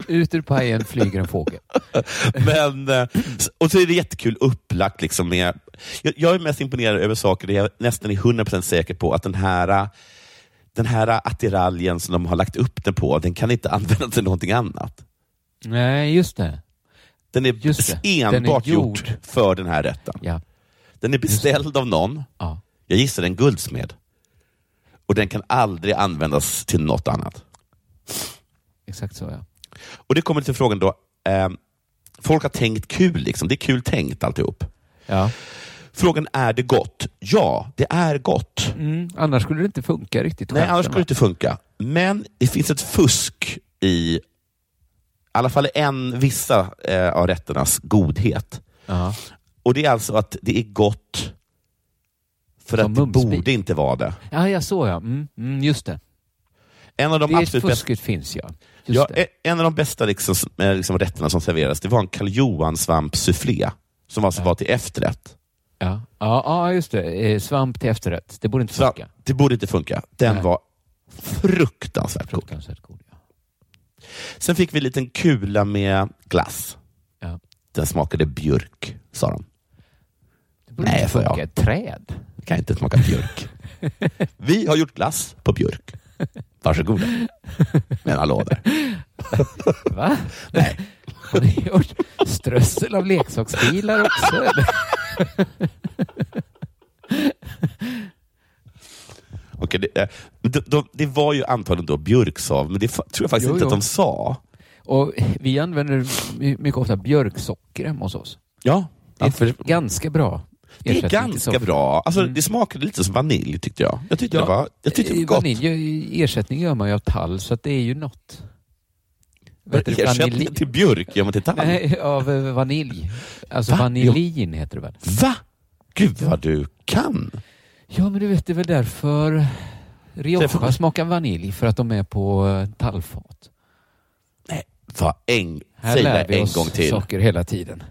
Speaker 4: Ut ur pajen flyger en fågel.
Speaker 2: Men, eh, s- och så är det jättekul upplagt. Liksom med, jag, jag är mest imponerad över saker där jag nästan är 100% säker på att den här eh, den här attiraljen som de har lagt upp den på, den kan inte användas till någonting annat.
Speaker 4: Nej, just det.
Speaker 2: Den är
Speaker 4: Just det.
Speaker 2: enbart
Speaker 4: Den är gjord.
Speaker 2: gjord för den här rätten.
Speaker 4: Ja.
Speaker 2: Den är beställd av någon.
Speaker 4: ja.
Speaker 2: Jag gissar en guldsmed. Och den kan aldrig användas till något annat.
Speaker 4: Exakt så ja.
Speaker 2: Och det kommer till frågan då, ehm, folk har tänkt kul liksom. Det är kul tänkt alltihop.
Speaker 4: ja.
Speaker 2: Frågan, är det gott? Ja, det är gott.
Speaker 4: Mm. Annars skulle det inte funka riktigt.
Speaker 2: Nej,
Speaker 4: chansen,
Speaker 2: annars skulle det
Speaker 4: va?
Speaker 2: inte funka. Men det finns ett fusk i, i alla fall en, vissa eh, av rätternas godhet.
Speaker 4: Ja.
Speaker 2: Och det är alltså att det är gott för
Speaker 4: Som
Speaker 2: att det
Speaker 4: mumsbit.
Speaker 2: borde inte vara det.
Speaker 4: ja, jag såg ja. Mm. Mm, just det.
Speaker 2: En av de
Speaker 4: det
Speaker 2: absolut bästa,
Speaker 4: fusket finns ja. Just
Speaker 2: ja,
Speaker 4: det.
Speaker 2: e- en av de bästa liksom, s- eh, liksom rätterna som serverades, det var en Karl Johan-svampsufflé som alltså var till efterrätt.
Speaker 4: Ja. Ja, ja, just det. Eh, Svamp till efterrätt. Det borde inte
Speaker 2: Så
Speaker 4: funka.
Speaker 2: det borde inte funka. Den
Speaker 4: Nej.
Speaker 2: var fruktansvärt god.
Speaker 4: Fruktansvärt god. Ja.
Speaker 2: Sen fick vi en liten kula med glass.
Speaker 4: Ja.
Speaker 2: Den smakade björk, sa de.
Speaker 4: Det borde
Speaker 2: Nej,
Speaker 4: inte
Speaker 2: får jag.
Speaker 4: funka. Ett träd.
Speaker 2: Det kan inte smaka björk. Vi har gjort glass på björk. Varsågoda. Men hallå där.
Speaker 4: Va?
Speaker 2: Nej.
Speaker 4: Har ni gjort strössel av leksaksbilar också? eller?
Speaker 2: Okej, det, eh, de, de, det var ju antagligen då björksav, men det fa- tror jag faktiskt
Speaker 4: Jo,
Speaker 2: inte
Speaker 4: jo.
Speaker 2: att de sa.
Speaker 4: Och vi använder my- mycket ofta björksocker hemma hos oss.
Speaker 2: Ja,
Speaker 4: Det är
Speaker 2: för,
Speaker 4: ganska bra
Speaker 2: det är
Speaker 4: ersättning till
Speaker 2: ganska
Speaker 4: socker.
Speaker 2: bra. Alltså, Det smakade lite som vanilj tyckte jag. Jag tyckte
Speaker 4: Mm. Ja,
Speaker 2: det var, jag tyckte det
Speaker 4: Eh,
Speaker 2: var gott.
Speaker 4: Vanilj, eh, ersättning gör man ju av tall, så att det är ju något. Vad heter det?
Speaker 2: Ersättningen
Speaker 4: Vanilj-
Speaker 2: till björk gör man till tall.
Speaker 4: Nej, av eh, vanilj. Alltså
Speaker 2: Va?
Speaker 4: vanillin heter det väl?
Speaker 2: Va? Gud vad du kan!
Speaker 4: Ja, men du vet, det är väl därför
Speaker 2: Därför
Speaker 4: Rioja
Speaker 2: man-
Speaker 4: smakar vanilj, för att de är på eh, tallfat.
Speaker 2: Nej, vad en,
Speaker 4: Här
Speaker 2: säg
Speaker 4: lär
Speaker 2: det
Speaker 4: vi
Speaker 2: en
Speaker 4: oss
Speaker 2: gång till.
Speaker 4: saker hela tiden.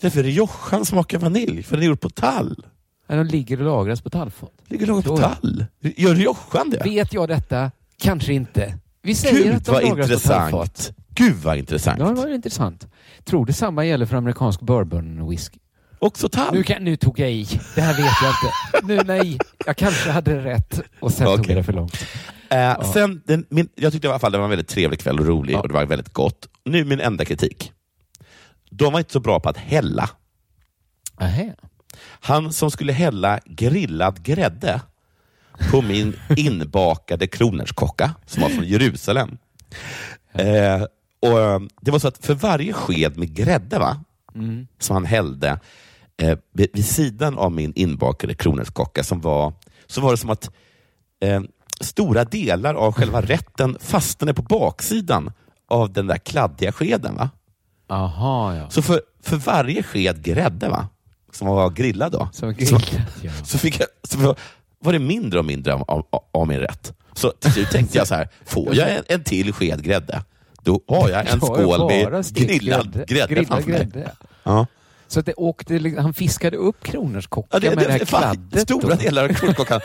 Speaker 2: Därför riojan smakar vanilj, för den är gjord på tall.
Speaker 4: Ja, De ligger och lagras på tallfat.
Speaker 2: Ligger lagom på
Speaker 4: Då ja.
Speaker 2: tall. Gör riojan det?
Speaker 4: Vet jag detta? Kanske inte. Vi säger
Speaker 2: Gud
Speaker 4: att de
Speaker 2: vad
Speaker 4: lagras på tallfat.
Speaker 2: intressant. Gud vad intressant.
Speaker 4: Ja, det var intressant. Tror detsamma gäller för amerikansk bourbonwhisky.
Speaker 2: Också tall.
Speaker 4: Nu, kan, nu tog jag i. Det här vet jag inte. Nu nej. Jag kanske hade rätt och sen tog
Speaker 2: Okej.
Speaker 4: jag det för långt.
Speaker 2: Eh, sen, den, min, jag tyckte i alla fall det var en väldigt trevlig kväll och rolig och det var väldigt gott. Nu min enda kritik. De var inte så bra på att hälla.
Speaker 4: Aha.
Speaker 2: Han som skulle hälla grillad grädde på min inbakade kronärtskocka som var från Jerusalem. Eh, och eh, Det var så att för varje sked med grädde va, som han hällde eh, vid, vid sidan av min inbakade kronärtskocka som var, så var det som att eh, stora delar av själva rätten fastnade på baksidan av den där kladdiga skeden. Va?
Speaker 4: Aha, ja.
Speaker 2: Så för, för varje sked grädde va, som var grillad då,
Speaker 4: Som
Speaker 2: så-
Speaker 4: grillat, ja.
Speaker 2: så, fick jag, så var det mindre och mindre av, av, av min rätt. Så till slut tänkte jag så här, får jag en, en till sked grädde, då har jag en
Speaker 4: Då har jag
Speaker 2: skål
Speaker 4: bara
Speaker 2: med
Speaker 4: stekt
Speaker 2: grillad grädde
Speaker 4: Grillad
Speaker 2: framför mig.
Speaker 4: grädde.
Speaker 2: Ja.
Speaker 4: Så att det åkte, liksom- han fiskade upp kronorskockan
Speaker 2: Ja, det,
Speaker 4: med det här
Speaker 2: det, fan,
Speaker 4: kladdet.
Speaker 2: stora
Speaker 4: då.
Speaker 2: delar av kronkakan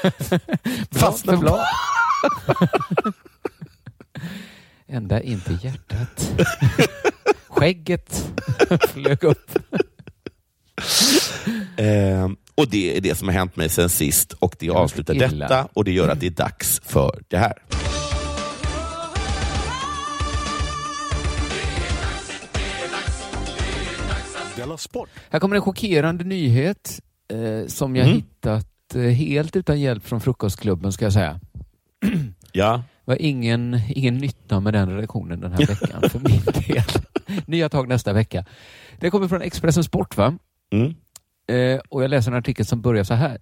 Speaker 2: fastnade på
Speaker 4: blad. Ända in till hjärtat. Skägget flög upp.
Speaker 2: Ehm, och det är det som har hänt mig sen sist och det avslutar
Speaker 4: illa.
Speaker 2: detta och det gör att det är dags för det här.
Speaker 4: Här kommer en chockerande nyhet eh, som jag
Speaker 2: Mm.
Speaker 4: hittat eh, helt utan hjälp från Frukostklubben ska jag säga.
Speaker 2: Ja.
Speaker 4: Det var ingen, ingen nytta med den redaktionen den här veckan för min del. Nya tag nästa vecka. Det kommer från Expressen Sport va?
Speaker 2: Mm.
Speaker 4: Eh, och jag läser en artikel som börjar så här.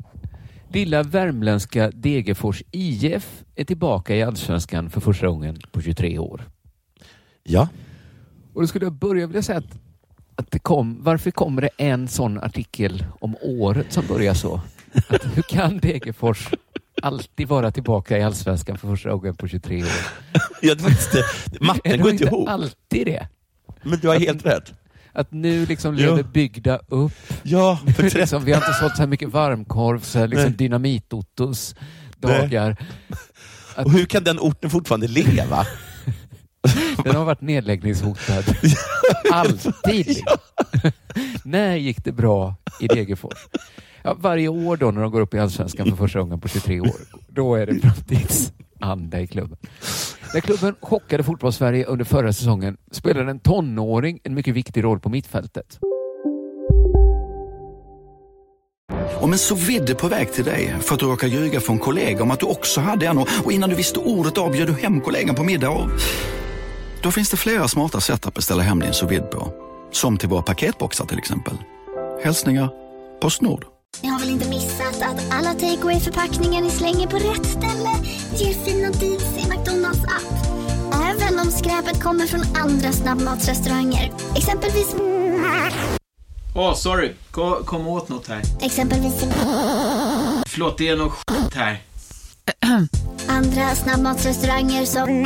Speaker 4: Lilla värmländska Degerfors IF är tillbaka i Allsvenskan för första gången på 23 år.
Speaker 2: Ja.
Speaker 4: Och då skulle jag börja vilja säga att, att det kom, varför kommer det en sån artikel om året som börjar så? Att hur kan Degerfors alltid vara tillbaka i Allsvenskan för första gången på 23 år?
Speaker 2: ja det är faktiskt, det.
Speaker 4: Är
Speaker 2: matten
Speaker 4: det
Speaker 2: går inte
Speaker 4: inte
Speaker 2: ihop.
Speaker 4: alltid det?
Speaker 2: Men du har helt rätt.
Speaker 4: Att nu liksom
Speaker 2: Ja.
Speaker 4: lever bygda upp.
Speaker 2: Ja, för tre-
Speaker 4: Liksom, vi har inte sålt så här mycket varmkorv, så här liksom
Speaker 2: Nej.
Speaker 4: dynamit-Ottos dagar.
Speaker 2: och hur kan den orten fortfarande leva?
Speaker 4: Den har varit nedläggningshotad. Alltid. när gick det bra i Degerfors? Ja, varje år då när de går upp i Allsvenskan för första gången på 23 år, då är det framtidsanda i klubben. När klubben chockade fotbollssverige under förra säsongen spelade en tonåring en mycket viktig roll på mittfältet.
Speaker 5: Om en så vidde på väg till dig för att du råkar ljuga från kollega om att du också hade en och och innan du visste ordet av bjöd du hem kollegan på middag och... Då finns det flera smarta sätt att beställa hem din sous vide på. Som till våra paketboxar till exempel. Hälsningar Postnord.
Speaker 6: Ni har väl inte missat att alla takeaway förpackningar ni slänger på rätt ställe ger fina deals i McDonalds app. Även om skräpet kommer från andra snabbmatsrestauranger. Exempelvis...
Speaker 7: Åh, sorry. Kom, kom åt något här.
Speaker 6: Exempelvis...
Speaker 7: Förlåt, det är något skit här.
Speaker 6: Andra snabbmatsrestauranger som...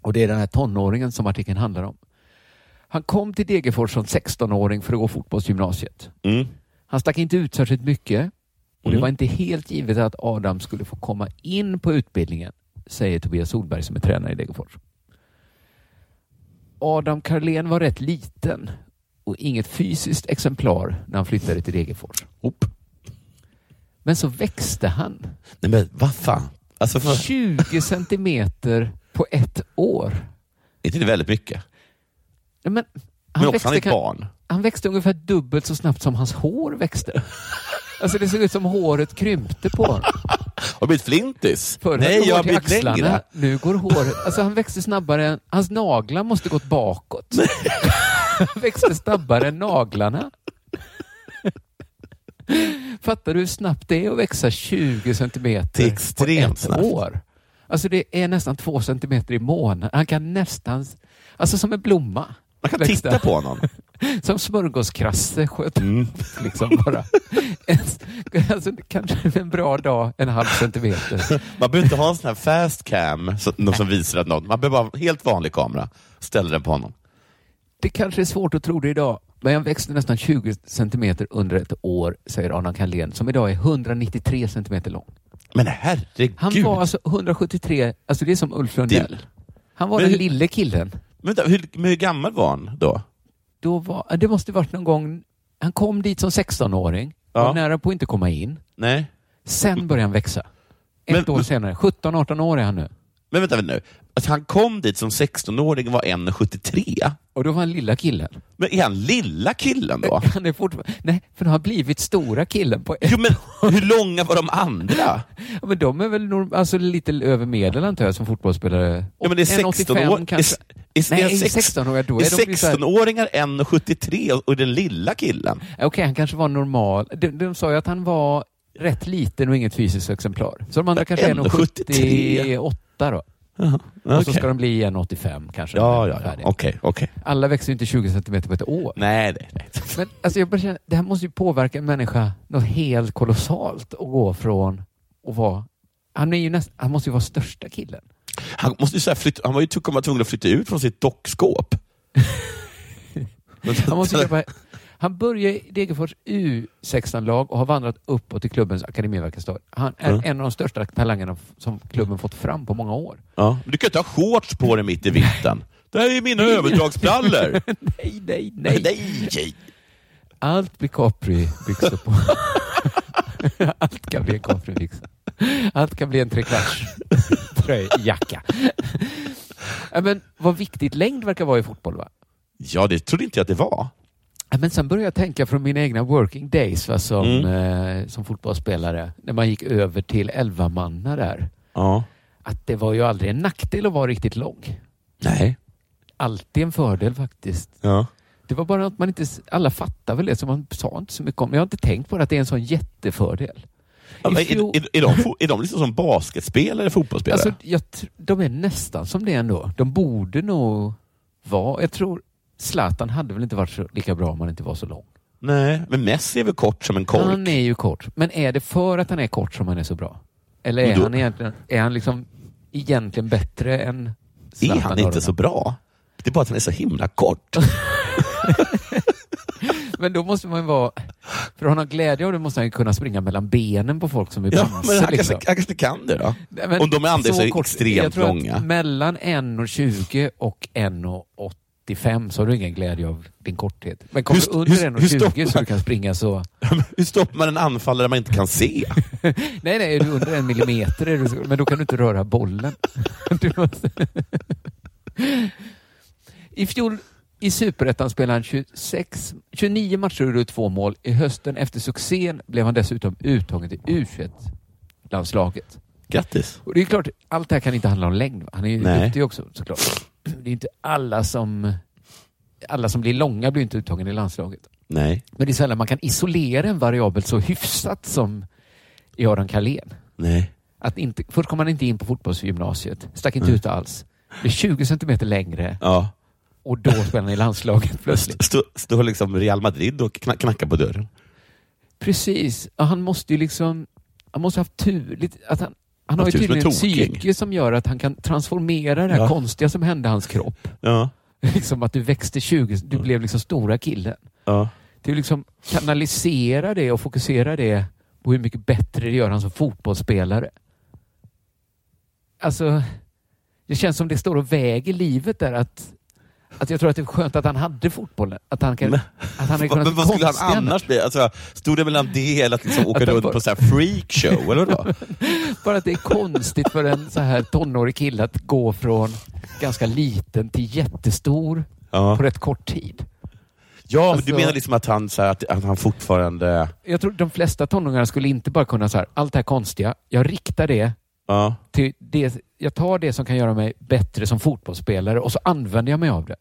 Speaker 4: Och det är den här tonåringen som artikeln handlar om. Han kom till Degerfors som 16-åring för att gå fotbollsgymnasiet.
Speaker 2: Mm.
Speaker 4: Han stack inte ut särskilt mycket och det var inte helt givet att Adam skulle få komma in på utbildningen, säger Tobias Solberg som är tränare i Degerfors. Adam Carlén var rätt liten och inget fysiskt exemplar när han flyttade till Degerfors. Men så växte han
Speaker 2: Nej men vad fan. Alltså, för,
Speaker 4: 20 centimeter på ett år.
Speaker 2: inte det väldigt mycket?
Speaker 4: Nej, Men han,
Speaker 2: Men också
Speaker 4: växte
Speaker 2: han är ett
Speaker 4: kan-
Speaker 2: barn.
Speaker 4: han växte ungefär dubbelt så snabbt som hans hår växte. Alltså det såg ut som håret krympte på honom.
Speaker 2: Har blivit flintis?
Speaker 4: Förut
Speaker 2: Nej,
Speaker 4: låg
Speaker 2: jag
Speaker 4: det
Speaker 2: har
Speaker 4: till
Speaker 2: blivit
Speaker 4: axlarna.
Speaker 2: längre.
Speaker 4: Nu går håret... Alltså han växte snabbare än... Hans naglar måste gått bakåt. han växte snabbare än naglarna. Fattar du hur snabbt det är att växa 20 centimeter
Speaker 2: Det är extremt
Speaker 4: på ett
Speaker 2: snabbt.
Speaker 4: år? Alltså det är nästan två centimeter i månaden. Han kan nästan... Alltså som en blomma.
Speaker 2: Man kan
Speaker 4: växte
Speaker 2: titta
Speaker 4: han.
Speaker 2: på honom.
Speaker 4: Som smörgåskrasse sköt
Speaker 2: Mm.
Speaker 4: upp liksom bara. En, alltså, kanske en bra dag, en halv centimeter.
Speaker 2: Man behöver inte ha en sån här fast cam så, någon som visar att någon... Man behöver bara ha en helt vanlig kamera. Ställer den på honom.
Speaker 4: Det kanske är svårt att tro det idag, men jag växte nästan 20 centimeter under ett år, säger Adam Carlén, som idag är 193 centimeter lång.
Speaker 2: Men herregud.
Speaker 4: Han var alltså 173, alltså det är som Ulf Lundell. Han var
Speaker 2: Men
Speaker 4: den
Speaker 2: hur-
Speaker 4: lille killen.
Speaker 2: Men vänta, hur, men hur gammal var han då?
Speaker 4: Då var, det måste varit någon gång, han kom dit som 16-åring,
Speaker 2: Ja.
Speaker 4: var nära på att inte komma in.
Speaker 2: Nej.
Speaker 4: Sen började han växa. Ett
Speaker 2: Men-
Speaker 4: år
Speaker 2: men-
Speaker 4: senare, 17-18 år är han nu.
Speaker 2: Men vänta nu. Att han kom dit som 16-åring och var 1,73.
Speaker 4: Och då var han lilla killen.
Speaker 2: Men är han lilla killen då?
Speaker 4: Han är fortfarande... Nej, för han har blivit stora killen på ett...
Speaker 2: Jo, men hur långa var de andra?
Speaker 4: Ja, men de är väl norm... alltså, lite över medel antar jag som fotbollsspelare.
Speaker 2: Ja, men det är 16
Speaker 4: 1,85
Speaker 2: år.
Speaker 4: kanske.
Speaker 2: Är, är,
Speaker 4: Nej,
Speaker 2: är sex-
Speaker 4: 16-åringar då är de
Speaker 2: är
Speaker 4: ju så här-
Speaker 2: 16-åringar 1,73 och- och den lilla killen?
Speaker 4: Okej, han kanske var normal. De, de sa ju att han var rätt liten och inget fysiskt exemplar. Så de andra
Speaker 2: Men
Speaker 4: kanske är
Speaker 2: 1,73.
Speaker 4: 1,78 då. Och så
Speaker 2: Okej.
Speaker 4: ska de bli 1,85 kanske.
Speaker 2: Ja, ja, ja.
Speaker 4: Färdiga.
Speaker 2: Okej, okej.
Speaker 4: Alla växer ju inte 20 centimeter på ett år.
Speaker 2: Nej, nej, nej.
Speaker 4: Men alltså jag bara känner, det här måste ju påverka en människa något helt kolossalt att gå från att vara... Han, är ju näst, han måste ju vara största killen.
Speaker 2: Han, måste ju så här flytta, han var ju tvungen tvungen att flytta ut från sitt dockskåp.
Speaker 4: Han, måste ju köpa, han börjar i Degerfors U16-lag och har vandrat uppåt i klubbens akademiverkstad. Han är
Speaker 2: Mm.
Speaker 4: en av de största talangerna f- som klubben fått fram på många år.
Speaker 2: ja. Men Du kan ju inte ha shorts på dig mitt i vintern. Det här är ju mina överdragsbrallor.
Speaker 4: Nej, nej,
Speaker 2: nej,
Speaker 4: nej.
Speaker 2: nej.
Speaker 4: Allt blir Capri-byxor på. Allt kan bli en Capri-byxa. Allt kan bli en trekvarts tröjjacka. Ja, Men vad viktigt längd verkar vara i fotboll va?
Speaker 2: Ja, det trodde inte jag att det var.
Speaker 4: Ja, Men sen började jag tänka från mina egna working days va, som, eh, som fotbollsspelare. När man gick över till elvamanna där.
Speaker 2: Ja.
Speaker 4: Att det var ju aldrig en nackdel att vara riktigt lång.
Speaker 2: Nej.
Speaker 4: Alltid en fördel faktiskt.
Speaker 2: Ja.
Speaker 4: Det var bara att man inte... Alla fattar väl det, så man sa inte så mycket om det. Jag har inte tänkt på det, att det är en sån jättefördel.
Speaker 2: Ja, men
Speaker 4: I fjol-
Speaker 2: är, är, är, de, fo- är de liksom som basketspelare, fotbollsspelare?
Speaker 4: Alltså, jag, tr- de är nästan som det ändå. De borde nog vara... Jag tror Zlatan hade väl inte varit så, lika bra om han inte var så lång.
Speaker 2: Nej, men Messi är väl kort som en kork?
Speaker 4: Han är ju kort. Men är det för att han är kort som han är så bra? Eller
Speaker 2: Men
Speaker 4: är
Speaker 2: då-
Speaker 4: han egentligen... Är han liksom egentligen bättre än
Speaker 2: Är han inte så bra? Det är bara att han är så himla kort.
Speaker 4: Men då måste man ju vara... För att ha någon glädje av det måste han ju kunna springa mellan benen på folk som är
Speaker 2: Ja,
Speaker 4: bamse,
Speaker 2: men han
Speaker 4: liksom.
Speaker 2: kanske, han kanske kan det då?
Speaker 4: Nej, men
Speaker 2: Om de andra är så,
Speaker 4: kort- jag
Speaker 2: extremt
Speaker 4: tror att
Speaker 2: långa.
Speaker 4: Mellan 1,20 och 1,85 så har du ingen glädje av din korthet. Men kommer
Speaker 2: Hur-
Speaker 4: du under
Speaker 2: hur- hur
Speaker 4: 1,20 så
Speaker 2: stoppar-
Speaker 4: du kan springa så...
Speaker 2: Hur stoppar man en anfallare man inte kan se?
Speaker 4: Nej, nej, är du under en millimeter är du, så- men då kan du inte röra bollen. Du måste... I fjol i Superettan spelade han 26, 29 matcher och gjorde två mål. I hösten efter succén blev han dessutom uttagen till U21-landslaget.
Speaker 2: Grattis!
Speaker 4: Och det är klart, allt det här kan inte handla om längd. va? Han är ju
Speaker 2: Nej.
Speaker 4: duktig också såklart. Det är inte alla som... Alla som blir långa blir inte uttagen i landslaget.
Speaker 2: Nej.
Speaker 4: Men det är sällan man kan isolera en variabel så hyfsat som i Aron Carlén.
Speaker 2: Nej.
Speaker 4: Att inte, först kom han inte in på fotbollsgymnasiet. Stack inte
Speaker 2: Nej.
Speaker 4: ut alls. Blev 20 centimeter längre
Speaker 2: Ja.
Speaker 4: och då spelade han i landslaget plötsligt.
Speaker 2: Står stå liksom Real Madrid och kna- knackar på dörren.
Speaker 4: Precis. Ja, han måste ju liksom... Han måste ha haft tur. Lite, att han, han har ju
Speaker 2: Haft tur som en
Speaker 4: tydligen ett
Speaker 2: toking.
Speaker 4: psyke som gör att han kan transformera det här
Speaker 2: Ja.
Speaker 4: konstiga som hände i hans kropp.
Speaker 2: Ja.
Speaker 4: Liksom att du växte 20,
Speaker 2: Mm.
Speaker 4: du blev liksom stora killen.
Speaker 2: Ja.
Speaker 4: Det är ju liksom kanalisera det och fokusera det på hur mycket bättre det gör han som fotbollsspelare. Alltså, det känns som det står och väger livet där att, att jag tror att det är skönt att han hade fotbollen. Att han, kan, att han hade
Speaker 2: Va-
Speaker 4: kunnat
Speaker 2: Men vad skulle han
Speaker 4: konstiga-
Speaker 2: annars bli? Alltså, stod det mellan det eller att liksom åka
Speaker 4: Att han
Speaker 2: runt
Speaker 4: bara-
Speaker 2: på så här freakshow? Eller vadå?
Speaker 4: Bara att det är konstigt för en så här tonårig kille att gå från ganska liten till jättestor
Speaker 2: Ja.
Speaker 4: på rätt kort tid.
Speaker 2: Ja, men
Speaker 4: Alltså-
Speaker 2: du menar liksom att han, så här, att, att han fortfarande...
Speaker 4: Jag tror de flesta tonåringar skulle inte bara kunna så här, allt det här konstiga, jag riktar det
Speaker 2: Ja.
Speaker 4: till det, jag tar det som kan göra mig bättre som fotbollsspelare och så använder jag mig av det.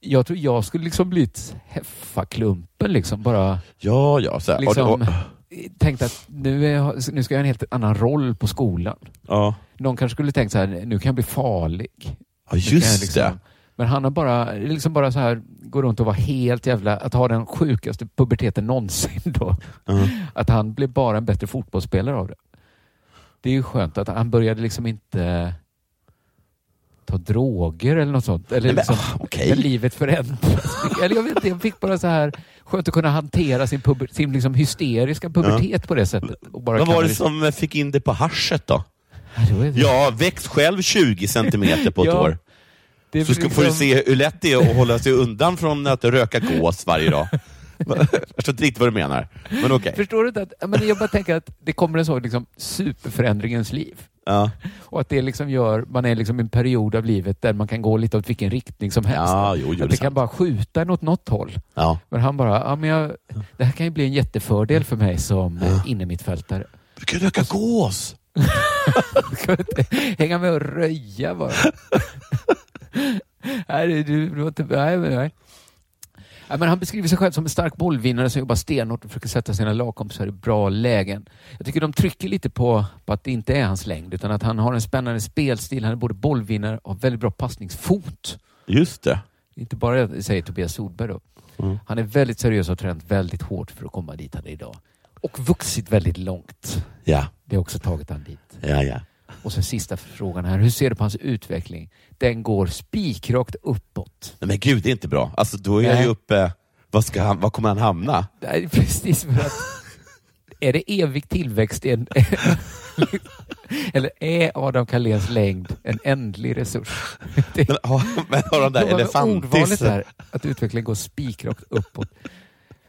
Speaker 4: Jag tror jag skulle liksom blivit heffaklumpen liksom. Bara
Speaker 2: Ja, ja. Så här.
Speaker 4: liksom,
Speaker 2: Och, och,
Speaker 4: tänkt att nu, är, jag- nu ska jag ha en helt annan roll på skolan.
Speaker 2: ja.
Speaker 4: Någon kanske skulle tänkt så här, nu kan jag bli farlig.
Speaker 2: ja,
Speaker 4: Nu kan jag
Speaker 2: just
Speaker 4: liksom-
Speaker 2: det.
Speaker 4: Men han har bara, liksom bara så här, går runt och var helt jävla, att ha den sjukaste puberteten någonsin då.
Speaker 2: Ja.
Speaker 4: Att han blev bara en bättre fotbollsspelare av det. Det är ju skönt att han började liksom inte ta droger eller något sånt. Eller
Speaker 2: Nej, men,
Speaker 4: liksom,
Speaker 2: ah, okej.
Speaker 4: när livet förändras. eller jag vet inte, jag fick bara så här skönt att kunna hantera sin, puber, sin liksom hysteriska pubertet på det sättet. Och bara
Speaker 2: Vad var det
Speaker 4: kanalisera-
Speaker 2: som fick in det på haschet då?
Speaker 4: Ja, det var ju-
Speaker 2: Ja, väx själv 20 centimeter på ett
Speaker 4: Ja,
Speaker 2: år.
Speaker 4: det är
Speaker 2: Så ska, får du
Speaker 4: liksom-
Speaker 2: se hur lätt det är att hålla sig undan från att röka gås varje dag. Jag förstår inte riktigt vad du menar. Men okej.
Speaker 4: Förstår du inte? Att, ja, men jag bara tänker att det kommer en sån liksom, superförändringens liv.
Speaker 2: Ja.
Speaker 4: Och att det liksom gör, man är liksom i en period av livet där man kan gå lite åt vilken riktning som helst.
Speaker 2: Ja, jo, jo, det är
Speaker 4: att det kan
Speaker 2: sant.
Speaker 4: bara skjuta en åt något håll.
Speaker 2: Ja.
Speaker 4: Men han bara, ja, men jag, det här kan ju bli en jättefördel för mig som eh, ja. innermittfältare.
Speaker 2: Du kan röka gås!
Speaker 4: Ska jag inte Hänga med och röja bara. nej, du, du, du var inte, nej, men nej. Ja, men han beskriver sig själv som en stark bollvinnare som jobbar stenhårt och försöker sätta sina lagkompisar i bra lägen. Jag tycker de trycker lite på, på att det inte är hans längd utan att han har en spännande spelstil. Han är både bollvinnare och har väldigt bra passningsfot.
Speaker 2: Just det.
Speaker 4: Inte bara, säger Tobias Solberg då.
Speaker 2: Mm.
Speaker 4: Han är väldigt seriös och har tränat väldigt hårt för att komma dit han är idag. Och vuxit väldigt långt.
Speaker 2: Ja,
Speaker 4: Det har också tagit han dit.
Speaker 2: ja, ja.
Speaker 4: Och sen sista frågan här. Hur ser du på hans utveckling? Den går spikrakt uppåt.
Speaker 2: Nej, men gud, det är inte bra. Alltså, då är jag ju
Speaker 4: Nej.
Speaker 2: uppe... Vad ska han, var kommer han hamna?
Speaker 4: Det här är precis för att... är det evig tillväxt i en... Eller är Adam Carléns längd en ändlig resurs? Det
Speaker 2: Men Har, men har de där
Speaker 4: Prova med ordvalet
Speaker 2: elefantisen?
Speaker 4: där, att utvecklingen går spikrakt uppåt.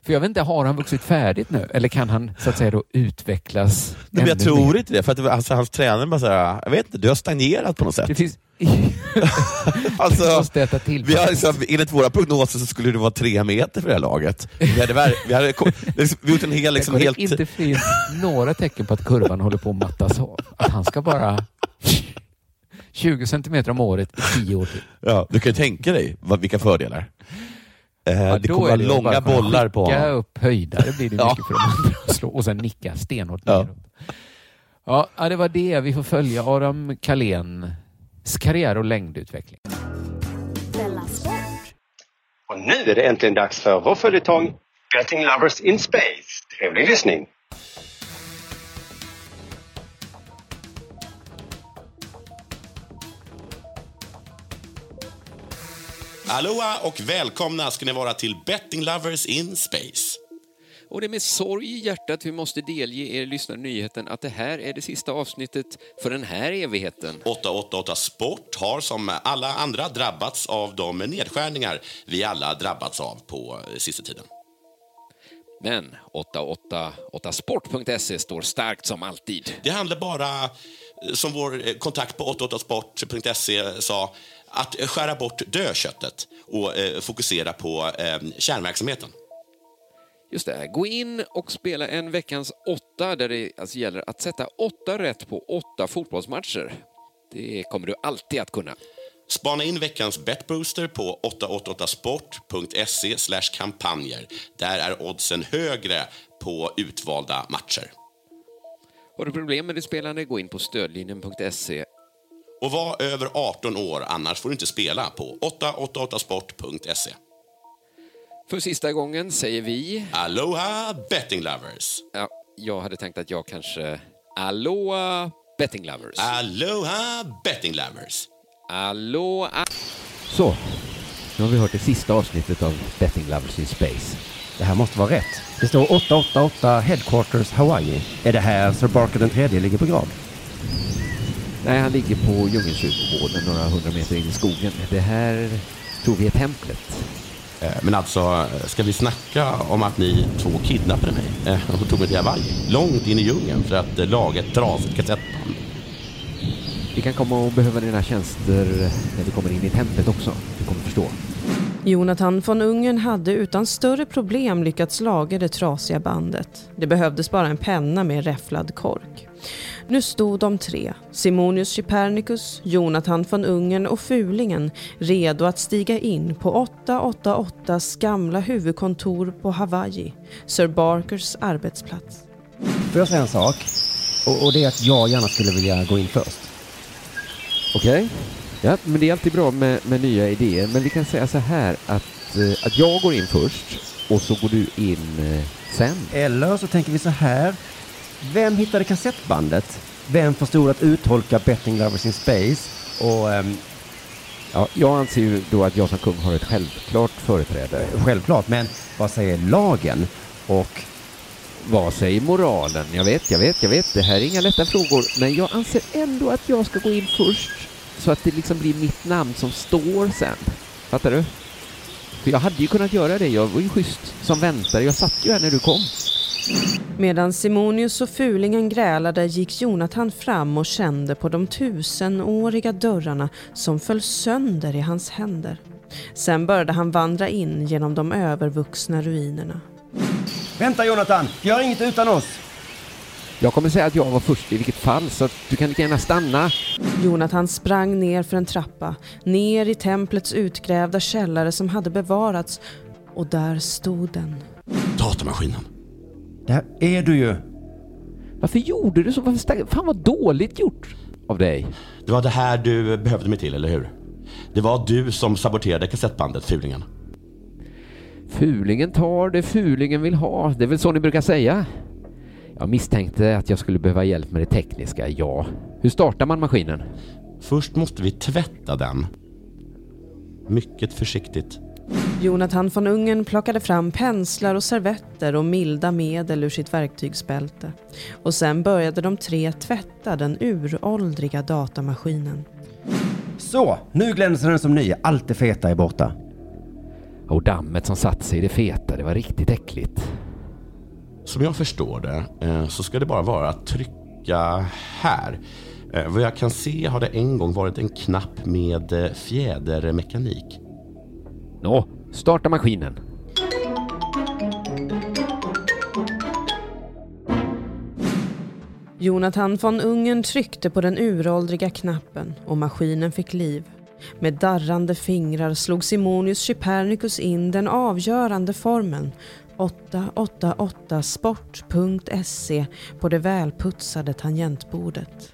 Speaker 4: För jag vet inte, har han vuxit färdigt nu? Eller kan han så att säga då utvecklas
Speaker 2: Nej, men jag
Speaker 4: ännu
Speaker 2: tror
Speaker 4: mer?
Speaker 2: inte det. För att det var- alltså, hans tränare bara såhär, jag vet inte, du har stagnerat på något sätt.
Speaker 4: Det finns...
Speaker 2: Alltså,
Speaker 4: måste äta till.
Speaker 2: vi har liksom, enligt våra prognoser så skulle det vara tre meter för det här laget. Vi hade, ver- vi hade ko- liksom, vi gjort en hel... Liksom,
Speaker 4: det
Speaker 2: helt
Speaker 4: inte finns några tecken på att kurvan håller på att mattas av. Att han ska bara 20 centimeter om året i 10 år till.
Speaker 2: ja, du kan ju tänka dig vad, vilka fördelar. Eh,
Speaker 4: Ja,
Speaker 2: det
Speaker 4: då
Speaker 2: kommer
Speaker 4: är
Speaker 2: vara
Speaker 4: ju bara
Speaker 2: långa
Speaker 4: att kunna
Speaker 2: bollar på
Speaker 4: Skicka
Speaker 2: honom.
Speaker 4: upp höjdare blir det
Speaker 2: Ja.
Speaker 4: mycket för de andra att slå och sen nicka stenhårt
Speaker 2: Ja.
Speaker 4: neråt. Ja. ja, det var det. Vi får följa Adam Carléns karriär och längdutveckling.
Speaker 8: Och nu är det äntligen dags för vår följetong Getting Lovers in Space. Trevlig lyssning!
Speaker 2: Aloha och välkomna ska ni vara till Betting Lovers in Space.
Speaker 9: Och det är med sorg i hjärtat vi måste delge er lyssnare nyheten att det här är det sista avsnittet för den här evigheten.
Speaker 2: 888 Sport har som alla andra drabbats av de nedskärningar vi alla drabbats av på eh, sista tiden.
Speaker 9: Men 888sport.se står starkt som alltid.
Speaker 2: Det handlar bara, eh, som vår eh, kontakt på 888sport.se sa, att eh, skära bort dödköttet och eh, fokusera på eh, kärnverksamheten.
Speaker 9: Just det, gå in och spela en veckans åtta där det alltså gäller att sätta åtta rätt på åtta fotbollsmatcher. Det kommer du alltid att kunna.
Speaker 2: Spana in veckans betbooster på 888sport.se slash kampanjer. Där är oddsen högre på utvalda matcher.
Speaker 9: Har du problem med ditt spelande, gå in på stödlinjen.se.
Speaker 2: Och var över 18 år, annars får du inte spela på 888sport.se.
Speaker 9: För sista gången säger vi...
Speaker 2: Aloha betting lovers!
Speaker 9: Ja, jag hade tänkt att jag kanske... Aloha betting lovers.
Speaker 2: Ah. Aloha betting lovers!
Speaker 9: Aloha...
Speaker 10: Så, nu har vi hört det sista avsnittet av Betting Lovers in Space. Det här måste vara rätt. Det står 888 Headquarters Hawaii. Är det här Sir Barker den tredje ligger på grav?
Speaker 4: Nej, han ligger på djungelkyrkogården några hundra meter in i skogen. Det här tror vi är templet.
Speaker 2: Eh, Men alltså, eh, ska vi snacka om att ni två kidnappade mig eh, och tog mig till Hawaii? Långt in i djungeln för att eh, laga ett trasigt kassettband.
Speaker 4: Vi kan komma och behöva dina tjänster när vi kommer in i templet också. Du kommer förstå.
Speaker 11: Jonathan från Ungern hade utan större problem lyckats laga det trasiga bandet. Det behövdes bara en penna med en räfflad kork. Nu stod de tre, Simonius Chypernicus, Jonathan från Ungern och Fulingen, redo att stiga in på 888s gamla huvudkontor på Hawaii, Sir Barkers arbetsplats.
Speaker 10: Får jag säga en sak? Och, och det är att jag gärna skulle vilja gå in först.
Speaker 4: Okej?
Speaker 10: Ja,
Speaker 4: men det är alltid bra med, med nya idéer. Men vi kan säga så här att, eh, att jag går in först och så går du in eh, sen.
Speaker 10: Eller så tänker vi så här. Vem hittade kassettbandet? Vem förstod att uttolka Betting Lovers in Space? Och... ehm,
Speaker 4: Ja, jag anser ju då att jag som kung har ett självklart företräde.
Speaker 10: Självklart, men vad säger lagen? Och
Speaker 4: vad säger moralen? Jag vet, jag vet, jag vet. Det här är inga lätta frågor. Men jag anser ändå att jag ska gå in först. Så att det liksom blir mitt namn som står sen. Fattar du? För jag hade ju kunnat göra det. Jag var ju schysst som väntare. Jag satt ju här när du kom.
Speaker 11: Medan Simonius och Fulingen grälade gick Jonathan fram och kände på de tusenåriga dörrarna som föll sönder i hans händer. Sen började han vandra in genom de övervuxna ruinerna.
Speaker 10: Vänta Jonathan, gör inget utan oss!
Speaker 4: Jag kommer säga att jag var först i vilket fall, så att du kan lika gärna stanna.
Speaker 11: Jonathan sprang ner för en trappa, ner i templets utgrävda källare som hade bevarats och där stod den.
Speaker 2: Datamaskinen.
Speaker 10: Där är du ju!
Speaker 4: Varför gjorde du så? Varför stack... Fan vad dåligt gjort! Av dig.
Speaker 2: Det var det här du behövde mig till, eller hur? Det var du som saboterade kassettbandet, fulingen.
Speaker 4: Fulingen tar det fulingen vill ha. Det är väl så ni brukar säga? Jag misstänkte att jag skulle behöva hjälp med det tekniska, ja. Hur startar man maskinen?
Speaker 2: Först måste vi tvätta den. Mycket försiktigt.
Speaker 11: Jonathan von Ungern plockade fram penslar och servetter och milda medel ur sitt verktygsbälte. Och sen började de tre tvätta den uråldriga datamaskinen.
Speaker 10: Så, nu glänser den som ny. Allt det feta är borta.
Speaker 4: Och dammet som satt sig i det feta, det var riktigt äckligt.
Speaker 2: Som jag förstår det eh, så ska det bara vara att trycka här. Eh, Vad jag kan se har det en gång varit en knapp med eh, fjädermekanik.
Speaker 4: Nå, starta maskinen.
Speaker 11: Jonathan von Ungern tryckte på den uråldriga knappen och maskinen fick liv. Med darrande fingrar slog Simonius Chypernicus in den avgörande formeln 888sport.se på det välputsade tangentbordet.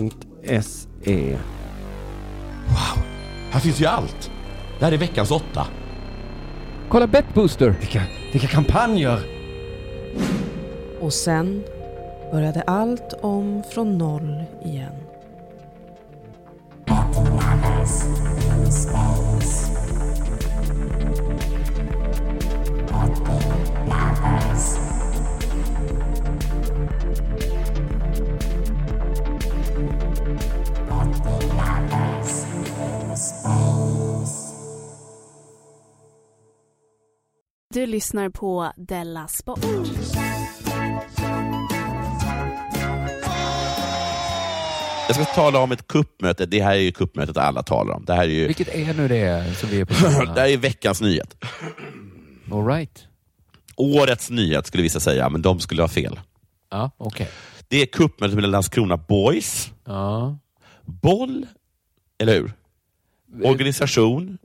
Speaker 10: 888sport.se
Speaker 2: Här finns ju allt! Det här är veckans åtta.
Speaker 4: Kolla Betbooster!
Speaker 10: Vilka, vilka kampanjer!
Speaker 11: Och sen började allt om från noll igen.
Speaker 12: Eyes and spells. Empty lovers. Empty lovers in space.
Speaker 3: Du lyssnar på Della Sport.
Speaker 2: Jag ska tala om ett kuppmöte. Det här är ju kuppmötet alla talar om. Det här är ju...
Speaker 4: Vilket är nu det som vi är på?
Speaker 2: det här är veckans nyhet.
Speaker 4: All right.
Speaker 2: Årets nyhet skulle vissa säga, men de skulle ha fel.
Speaker 4: Ja, okej.
Speaker 2: Det är kuppmötet mellan Landskrona Boys.
Speaker 4: Ja.
Speaker 2: Boll, eller hur? Organisation,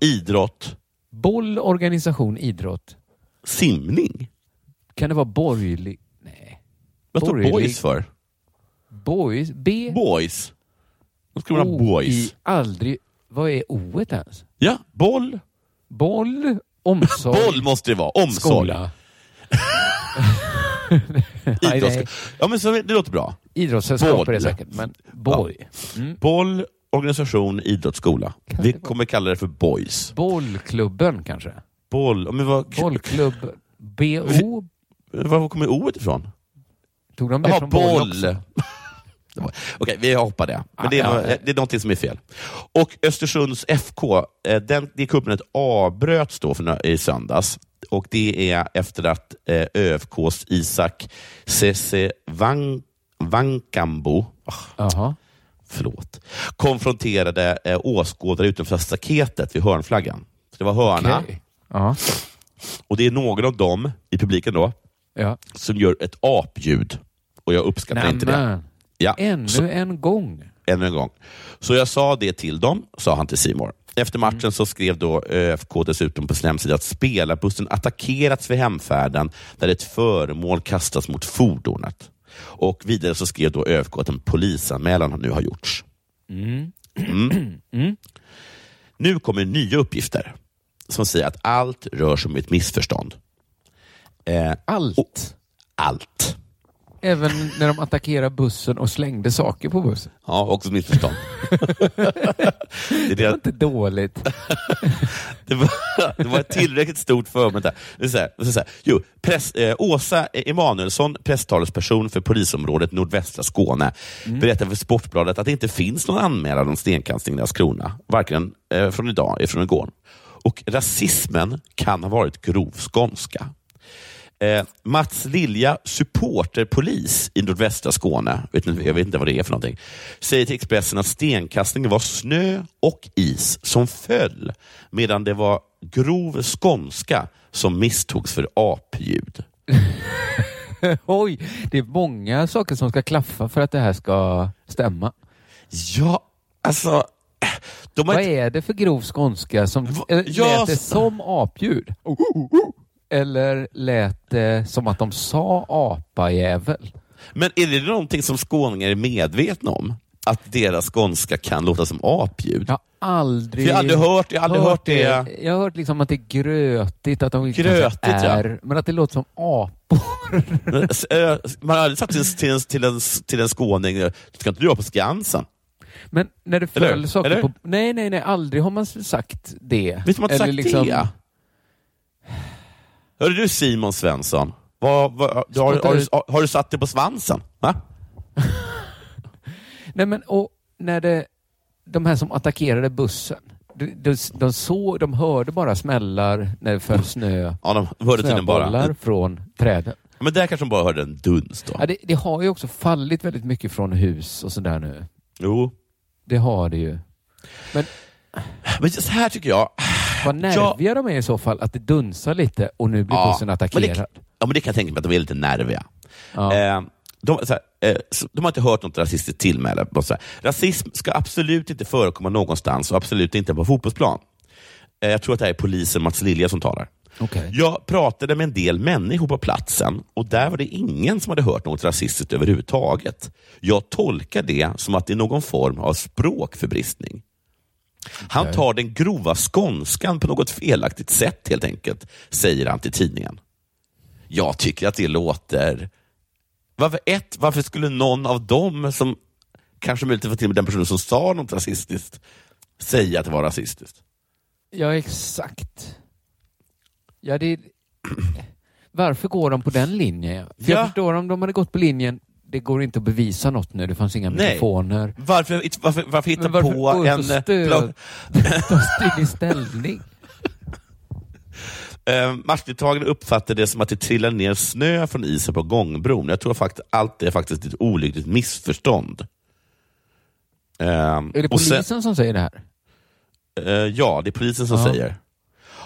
Speaker 2: idrott.
Speaker 4: Boll, organisation, idrott.
Speaker 2: Simning?
Speaker 4: Kan det vara borgerlig? Nej.
Speaker 2: Vad står
Speaker 4: Borgerlig-
Speaker 2: boys för?
Speaker 4: Boys? B?
Speaker 2: Boys. De skulle ha boys.
Speaker 4: I aldrig... Vad är O-et ens?
Speaker 2: Ja, boll.
Speaker 4: Boll, omsorg.
Speaker 2: Boll måste det vara. Omsorg.
Speaker 4: Skola. Nej, nej.
Speaker 2: Idrotts... Ja, men så, det låter bra.
Speaker 4: Idrottssällskap är det
Speaker 2: Boll.
Speaker 4: säkert, men boy.
Speaker 2: Boll, organisation, idrottsskola. Vi kommer kalla det för boys.
Speaker 4: Bollklubben kanske?
Speaker 2: Boll... Men vad,
Speaker 4: Bollklubb BO?
Speaker 2: Var kommer O ifrån?
Speaker 4: Tog de det
Speaker 2: Jaha,
Speaker 4: från boll
Speaker 2: boll.
Speaker 4: också?
Speaker 2: Okej, vi hoppar det. Men det är,
Speaker 4: Ah,
Speaker 2: nog-
Speaker 4: ja.
Speaker 2: det är någonting som är fel. Och Östersunds FK, eh, den, det kuppnet avbröts då för, några- i söndags. Och Det är efter att eh, ÖFKs Isak Cese Van, Vankambo, ah,
Speaker 4: Jaha.
Speaker 2: förlåt, konfronterade eh, åskådare utanför staketet vid hörnflaggan. Så det var hörna.
Speaker 4: Okej. Ja.
Speaker 2: Och Det är någon av dem i publiken då
Speaker 4: Ja.
Speaker 2: som gör ett apljud. Och jag uppskattar inte det.
Speaker 4: Nämen.
Speaker 2: Ja.
Speaker 4: Ännu
Speaker 2: Så-
Speaker 4: en gång.
Speaker 2: ännu en gång. Så jag sa det till dem, sa han till Simor. Efter matchen
Speaker 4: Mm.
Speaker 2: så skrev då ÖFK dessutom på sin hemsida att spelarbussen attackerats vid hemfärden där ett föremål kastas mot fordonet. Och vidare så skrev då ÖFK att en polisanmälan nu har gjorts. Mm. Nu kommer nya uppgifter som säger att allt rör sig om ett missförstånd. Eh,
Speaker 4: allt?
Speaker 2: Allt.
Speaker 4: Även när de attackerade bussen och slängde saker på bussen.
Speaker 2: Ja, också ett missförstånd. det, är det,
Speaker 4: Det är dåligt.
Speaker 2: Det var, det var ett tillräckligt stort förmöte. Det är så här, det är så här. Jo, press, eh, Åsa Emanuelsson, presstalesperson för polisområdet nordvästra Skåne, berättar för Sportbladet att det inte finns någon anmälan om stenkastning i Landskrona, varken eh, från idag eller från igår. Och rasismen kan ha varit grov skånska. Eh, Mats Lilja, supporterpolis i nordvästra Skåne, vet inte, jag vet inte vad det är för någonting, säger till Expressen att stenkastningen var snö och is som föll, medan det var grov skånska som misstogs för apljud.
Speaker 4: Oj, det är många saker som ska klaffa för att det här ska stämma.
Speaker 2: Ja, alltså... De har
Speaker 4: Vad
Speaker 2: inte-
Speaker 4: är det för grov skånska som eh,
Speaker 2: Ja,
Speaker 4: lät det
Speaker 2: s- Oh,
Speaker 4: som apljud? Eller lät det som att de sa apajävel?
Speaker 2: Men är det någonting som skåningar är medvetna om? Att deras skånska kan låta som apljud?
Speaker 4: Jag har aldrig,
Speaker 2: För jag har aldrig hört- jag har aldrig hört det.
Speaker 4: Jag har hört liksom att det är grötigt, att de
Speaker 2: Grötigt,
Speaker 4: kanske är,
Speaker 2: ja.
Speaker 4: men att det låter som apor.
Speaker 2: S- eh, Man har aldrig sagt till en, till en, till en, till en skåning, ska inte du vara på Skansen?
Speaker 4: Men när det
Speaker 2: Eller
Speaker 4: föll
Speaker 2: hur?
Speaker 4: saker
Speaker 2: Eller hur?
Speaker 4: på... Nej, nej, nej. Aldrig har man s- sagt det.
Speaker 2: Visst har man inte
Speaker 4: Eller liksom-
Speaker 2: sagt det? Hörru du Simon Svensson, vad, vad, du har, har, du, har du satt dig på svansen? Va?
Speaker 4: Nej, men och när det... De här som attackerade bussen. De, de, de, såg, de hörde bara smällar när det föll snö.
Speaker 2: Ja, de hörde tydligen bara.
Speaker 4: Snöbollar från träden.
Speaker 2: Men där kanske de bara hörde en duns då.
Speaker 4: Ja, det, det har ju också fallit väldigt mycket från hus och sådär nu.
Speaker 2: Jo.
Speaker 4: Det har det ju.
Speaker 2: Men så här tycker jag.
Speaker 4: Vad nerviga de är i så fall, att det dunsar lite och nu blir bussen
Speaker 2: Men
Speaker 4: attackerad.
Speaker 2: det, ja, men det kan jag tänka mig att de är lite nerviga.
Speaker 4: Ja.
Speaker 2: Eh, de, så här, eh, så- de har inte hört något rasistiskt tillmäle. Bara så här, Rasism ska absolut inte förekomma någonstans och absolut inte på fotbollsplan. Eh, jag tror att det här är polisen Mats Lilja som talar.
Speaker 4: Okej.
Speaker 2: Jag pratade med en del människor på platsen och där var det ingen som hade hört något rasistiskt överhuvudtaget. Jag tolkar det som att det är någon form av språkförbristning. Han tar den grova skånskan på något felaktigt sätt helt enkelt, säger han till tidningen. Jag tycker att det låter... Varför, ett, varför skulle någon av dem som kanske möjligtvis får till och med den personen som sa något rasistiskt säga att det var rasistiskt.
Speaker 4: Ja, exakt. Ja, det... Varför går de på den linjen? För Jag
Speaker 2: Ja.
Speaker 4: förstår om de hade gått på linjen, det går inte att bevisa något nu, det fanns inga
Speaker 2: Nej.
Speaker 4: mikrofoner.
Speaker 2: Varför, varför, varför hitta
Speaker 4: Men varför
Speaker 2: på
Speaker 4: gå ut
Speaker 2: en...
Speaker 4: och stöd? Ta strid i ställning.
Speaker 2: Eh, Matchdeltagarna uppfattade det som att det trillade ner snö från isen på gångbron. Jag tror faktiskt allt det är faktiskt ett olyckligt missförstånd. Eh,
Speaker 4: Är det
Speaker 2: och sen-
Speaker 4: polisen som säger det här?
Speaker 2: Eh, ja, det är polisen som
Speaker 4: Ja.
Speaker 2: säger.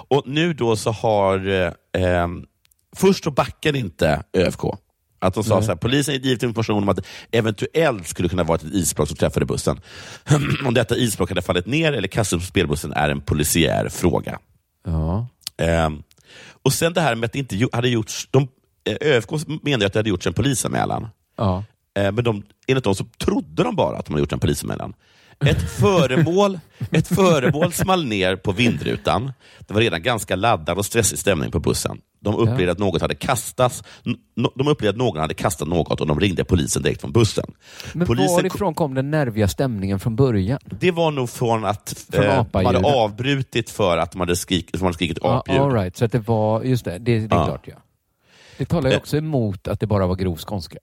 Speaker 2: Och nu då så har... Eh, ehm, först så backade inte ÖFK. Att de sa
Speaker 4: Nej.
Speaker 2: så här, polisen har givit information om att det eventuellt skulle kunna vara ett isblock som träffade bussen. om detta isblock hade fallit ner eller kastats på spelbussen är en polisiär fråga.
Speaker 4: Ja.
Speaker 2: Ehm, och sen det här med att det inte gjo- hade gjorts... De, eh, ÖFK menade ju att det hade gjorts en polisanmälan.
Speaker 4: Ja.
Speaker 2: Eh, Men de, enligt dem så trodde de bara att de hade gjort en polisanmälan. Ett föremål, ett föremål small ner på vindrutan. Det var redan ganska laddad och stressig stämning på bussen. De upplevde
Speaker 4: Ja.
Speaker 2: att något hade kastats. n- no- De upplevde att någon hade kastat något och de ringde polisen direkt från bussen.
Speaker 4: Men
Speaker 2: Polisen
Speaker 4: varifrån kom den nerviga stämningen från början?
Speaker 2: Det var nog från att
Speaker 4: Från
Speaker 2: eh, de hade
Speaker 4: apaljudet.
Speaker 2: avbrutit för att de hade skrikit, de hade skrikit
Speaker 4: Ja,
Speaker 2: apljud.
Speaker 4: all right. Så att det var, just det, det, det är
Speaker 2: Ja. Eh.
Speaker 4: klart ja. Det talar ju också emot att det bara var grov skånska.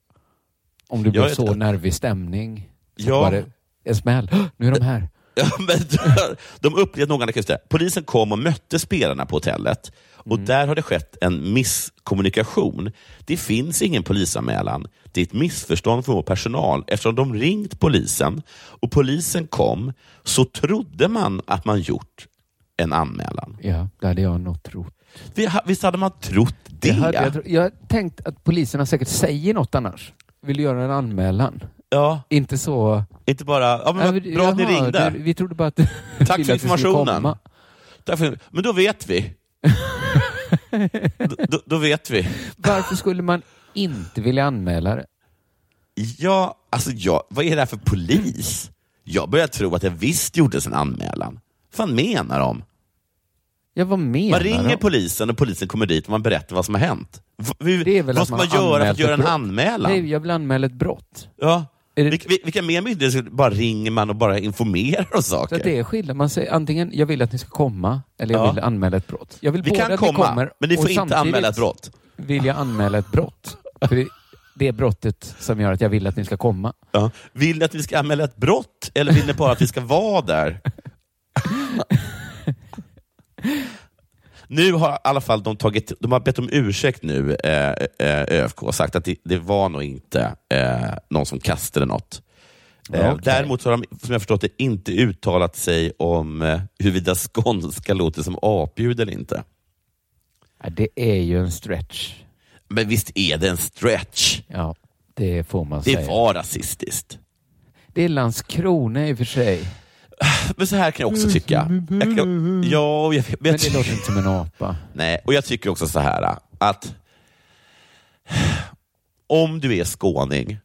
Speaker 4: Om det
Speaker 2: Ja,
Speaker 4: blev
Speaker 2: jag-
Speaker 4: så nervig stämning. Så
Speaker 2: Ja.
Speaker 4: var det en smäll. Hå! Nu är de här.
Speaker 2: Ja, men de upplevde att någon hade kunnat Polisen kom och mötte spelarna på hotellet och
Speaker 4: Mm.
Speaker 2: där har det skett en misskommunikation. Det finns ingen polisanmälan. Det är ett missförstånd från vår personal. Eftersom de ringt polisen och polisen kom så trodde man att man gjort en anmälan.
Speaker 4: Ja, det hade jag nog trott.
Speaker 2: Vi- Visst hade man trott det?
Speaker 4: Jag, hade, jag, tro- jag har tänkt att poliserna säkert säger något annars. Vill göra en anmälan.
Speaker 2: Ja.
Speaker 4: Inte så...
Speaker 2: Inte bara, ja, men
Speaker 4: Nej,
Speaker 2: vad
Speaker 4: vi-
Speaker 2: bra att ni
Speaker 4: jaha,
Speaker 2: ringde.
Speaker 4: du- Vi trodde bara att...
Speaker 2: Tack för
Speaker 4: ville att vi skulle
Speaker 2: informationen.
Speaker 4: komma.
Speaker 2: Tack för, men då vet vi. då, då, då vet vi.
Speaker 4: Varför skulle man inte vilja anmäla det?
Speaker 2: Ja, alltså jag, vad är det här för polis? Jag börjar tro att det visst gjordes en anmälan. Vad fan menar de?
Speaker 4: Ja, vad menar
Speaker 2: man ringer
Speaker 4: de?
Speaker 2: polisen och polisen kommer dit och man berättar vad som har hänt. V- hur-
Speaker 4: Det är väl
Speaker 2: vad
Speaker 4: att
Speaker 2: ska
Speaker 4: man
Speaker 2: man, göra för
Speaker 4: anmält
Speaker 2: att göra
Speaker 4: ett
Speaker 2: en
Speaker 4: brott.
Speaker 2: anmälan?
Speaker 4: Nej, jag vill anmäla ett brott.
Speaker 2: ja. Vil- vil- vilka mer myndigheter bara ringer man och bara informerar om
Speaker 4: Så
Speaker 2: saker?
Speaker 4: att det är skillnad. Man säger antingen jag vill att ni ska komma eller jag
Speaker 2: Ja.
Speaker 4: vill anmäla ett brott. Jag vill
Speaker 2: Vi
Speaker 4: både
Speaker 2: kan
Speaker 4: att
Speaker 2: komma,
Speaker 4: ni kommer,
Speaker 2: men ni får
Speaker 4: och
Speaker 2: inte
Speaker 4: samtidigt
Speaker 2: anmäla ett brott.
Speaker 4: vill jag anmäla ett brott. För det, det är brottet som gör att jag vill att ni ska komma.
Speaker 2: Ja. Vill ni att vi ska anmäla ett brott eller vill ni bara att vi ska vara där? nu har i alla fall de tagit, de har bett om ursäkt nu, eh, eh, ÖFK, och sagt att det, det var nog inte eh, någon som kastade något. Eh,
Speaker 4: Okej.
Speaker 2: Däremot så har de, som jag förstått det, inte uttalat sig om eh, huruvida skånska låter som apljud eller inte.
Speaker 4: Ja, det är ju en stretch.
Speaker 2: Men visst är det en stretch?
Speaker 4: Ja, det får man
Speaker 2: Det
Speaker 4: säga.
Speaker 2: var rasistiskt.
Speaker 4: Det är Landskrona i och för sig.
Speaker 2: Men så här kan jag också tycka. Jag kan, ja, jag, vet.
Speaker 4: Men det låter inte som en apa.
Speaker 2: Nej, och jag tycker också så här att om du är skåning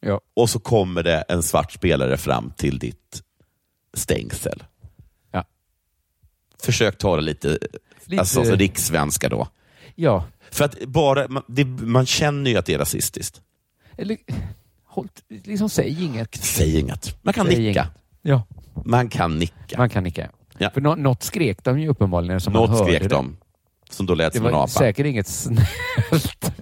Speaker 4: Ja.
Speaker 2: och så kommer det en svart spelare fram till ditt stängsel.
Speaker 4: Ja.
Speaker 2: Försök ta det lite,
Speaker 4: Lite-
Speaker 2: Alltså, så rikssvenska då.
Speaker 4: Ja,
Speaker 2: För att bara, man, det, man känner ju att det är rasistiskt.
Speaker 4: eller håll, liksom säg inget.
Speaker 2: Säg inget. Man kan
Speaker 4: Säg
Speaker 2: nicka.
Speaker 4: inget. Ja.
Speaker 2: Man kan nicka.
Speaker 4: Man kan nicka.
Speaker 2: Ja.
Speaker 4: För nå- något skrek de ju uppenbarligen som man
Speaker 2: Något
Speaker 4: hörde
Speaker 2: skrek
Speaker 4: det.
Speaker 2: de, som då lät
Speaker 4: Det
Speaker 2: som en
Speaker 4: var
Speaker 2: apa.
Speaker 4: säkert inget snällt.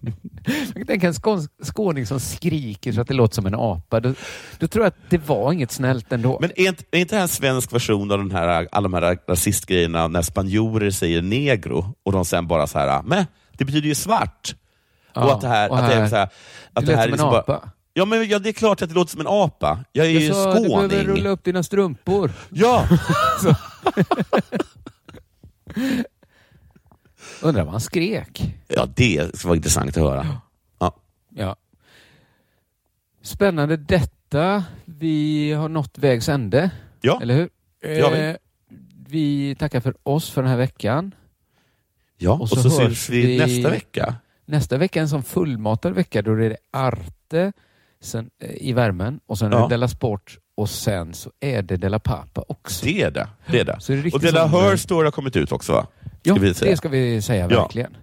Speaker 4: Tänk en skåns- skåning som skriker så att det låter som en apa. Då, då tror jag att det var inget snällt ändå.
Speaker 2: Men är inte, är inte det här en svensk version av den här, alla de här rasistgrejerna när spanjorer säger negro och de sen bara så här, men det betyder ju svart.
Speaker 4: Ja,
Speaker 2: och att det här,
Speaker 4: och
Speaker 2: att det är
Speaker 4: här-
Speaker 2: så här,
Speaker 4: det
Speaker 2: att det
Speaker 4: lät
Speaker 2: här
Speaker 4: som en
Speaker 2: liksom
Speaker 4: apa.
Speaker 2: Bara, ja, men ja, det är klart att det låter som en apa. Jag är ju
Speaker 4: jag sa, du behöver
Speaker 2: skåning.
Speaker 4: rulla upp dina strumpor.
Speaker 2: Ja!
Speaker 4: Så- Undrar vad han skrek.
Speaker 2: ja, det skulle vara intressant att höra. Ja.
Speaker 4: Ja. Spännande detta. Vi har nått vägs ände.
Speaker 2: Ja.
Speaker 4: Eller hur?
Speaker 2: Det har vi.
Speaker 4: Eh, vi tackar för oss för den här veckan.
Speaker 2: Ja, och så,
Speaker 4: hörs
Speaker 2: syns vi nästa vecka.
Speaker 4: Nästa vecka är en sån fullmatad vecka. Då är det Arte sen, eh, i värmen och sen är
Speaker 2: Ja.
Speaker 4: det Della Sport och sen så är det Della Pappa också.
Speaker 2: Det är det. det, är det.
Speaker 4: Så är det riktigt
Speaker 2: och Della
Speaker 4: som-
Speaker 2: Her Story har kommit ut också, va?
Speaker 4: Ja,
Speaker 2: Ska vi säga.
Speaker 4: det ska vi säga
Speaker 2: Ja.
Speaker 4: verkligen.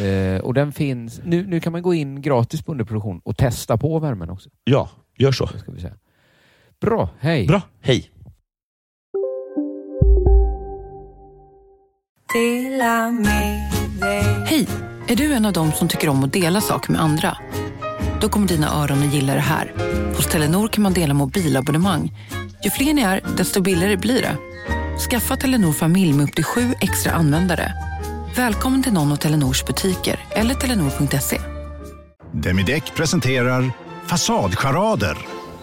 Speaker 4: Eh, och den finns, nu, nu kan man gå in gratis på underproduktion och testa på värmen också.
Speaker 2: Ja, gör så.
Speaker 4: Ska vi säga. Bra, hej.
Speaker 2: Bra, hej.
Speaker 13: Hej! Är du en av dem som tycker om att dela saker med andra? Då kommer dina öron att gilla det här. Hos Telenor kan man dela mobilabonnemang. Ju fler ni är, desto billigare blir det. Skaffa Telenor familj med upp till sju extra användare. Välkommen till någon av Telenors butiker eller telenor.se.
Speaker 10: Demideck presenterar Fasadcharader.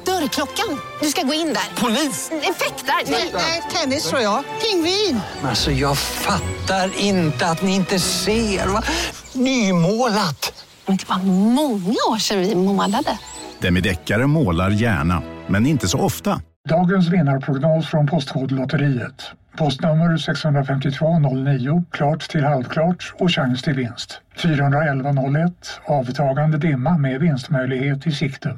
Speaker 14: Dörrklockan. Du ska gå in där. Polis? Effektar? Nej, tennis tror jag. Pingvin.
Speaker 5: Alltså jag fattar inte att ni inte ser. Va? Nymålat!
Speaker 14: Men det var många år sedan vi målade.
Speaker 10: Demideckare målar gärna, men inte så ofta.
Speaker 15: Dagens vinnarprognos från Postkodlotteriet. Postnummer 65209, klart till halvklart och chans till vinst. 41101, avtagande dimma med vinstmöjlighet i sikte.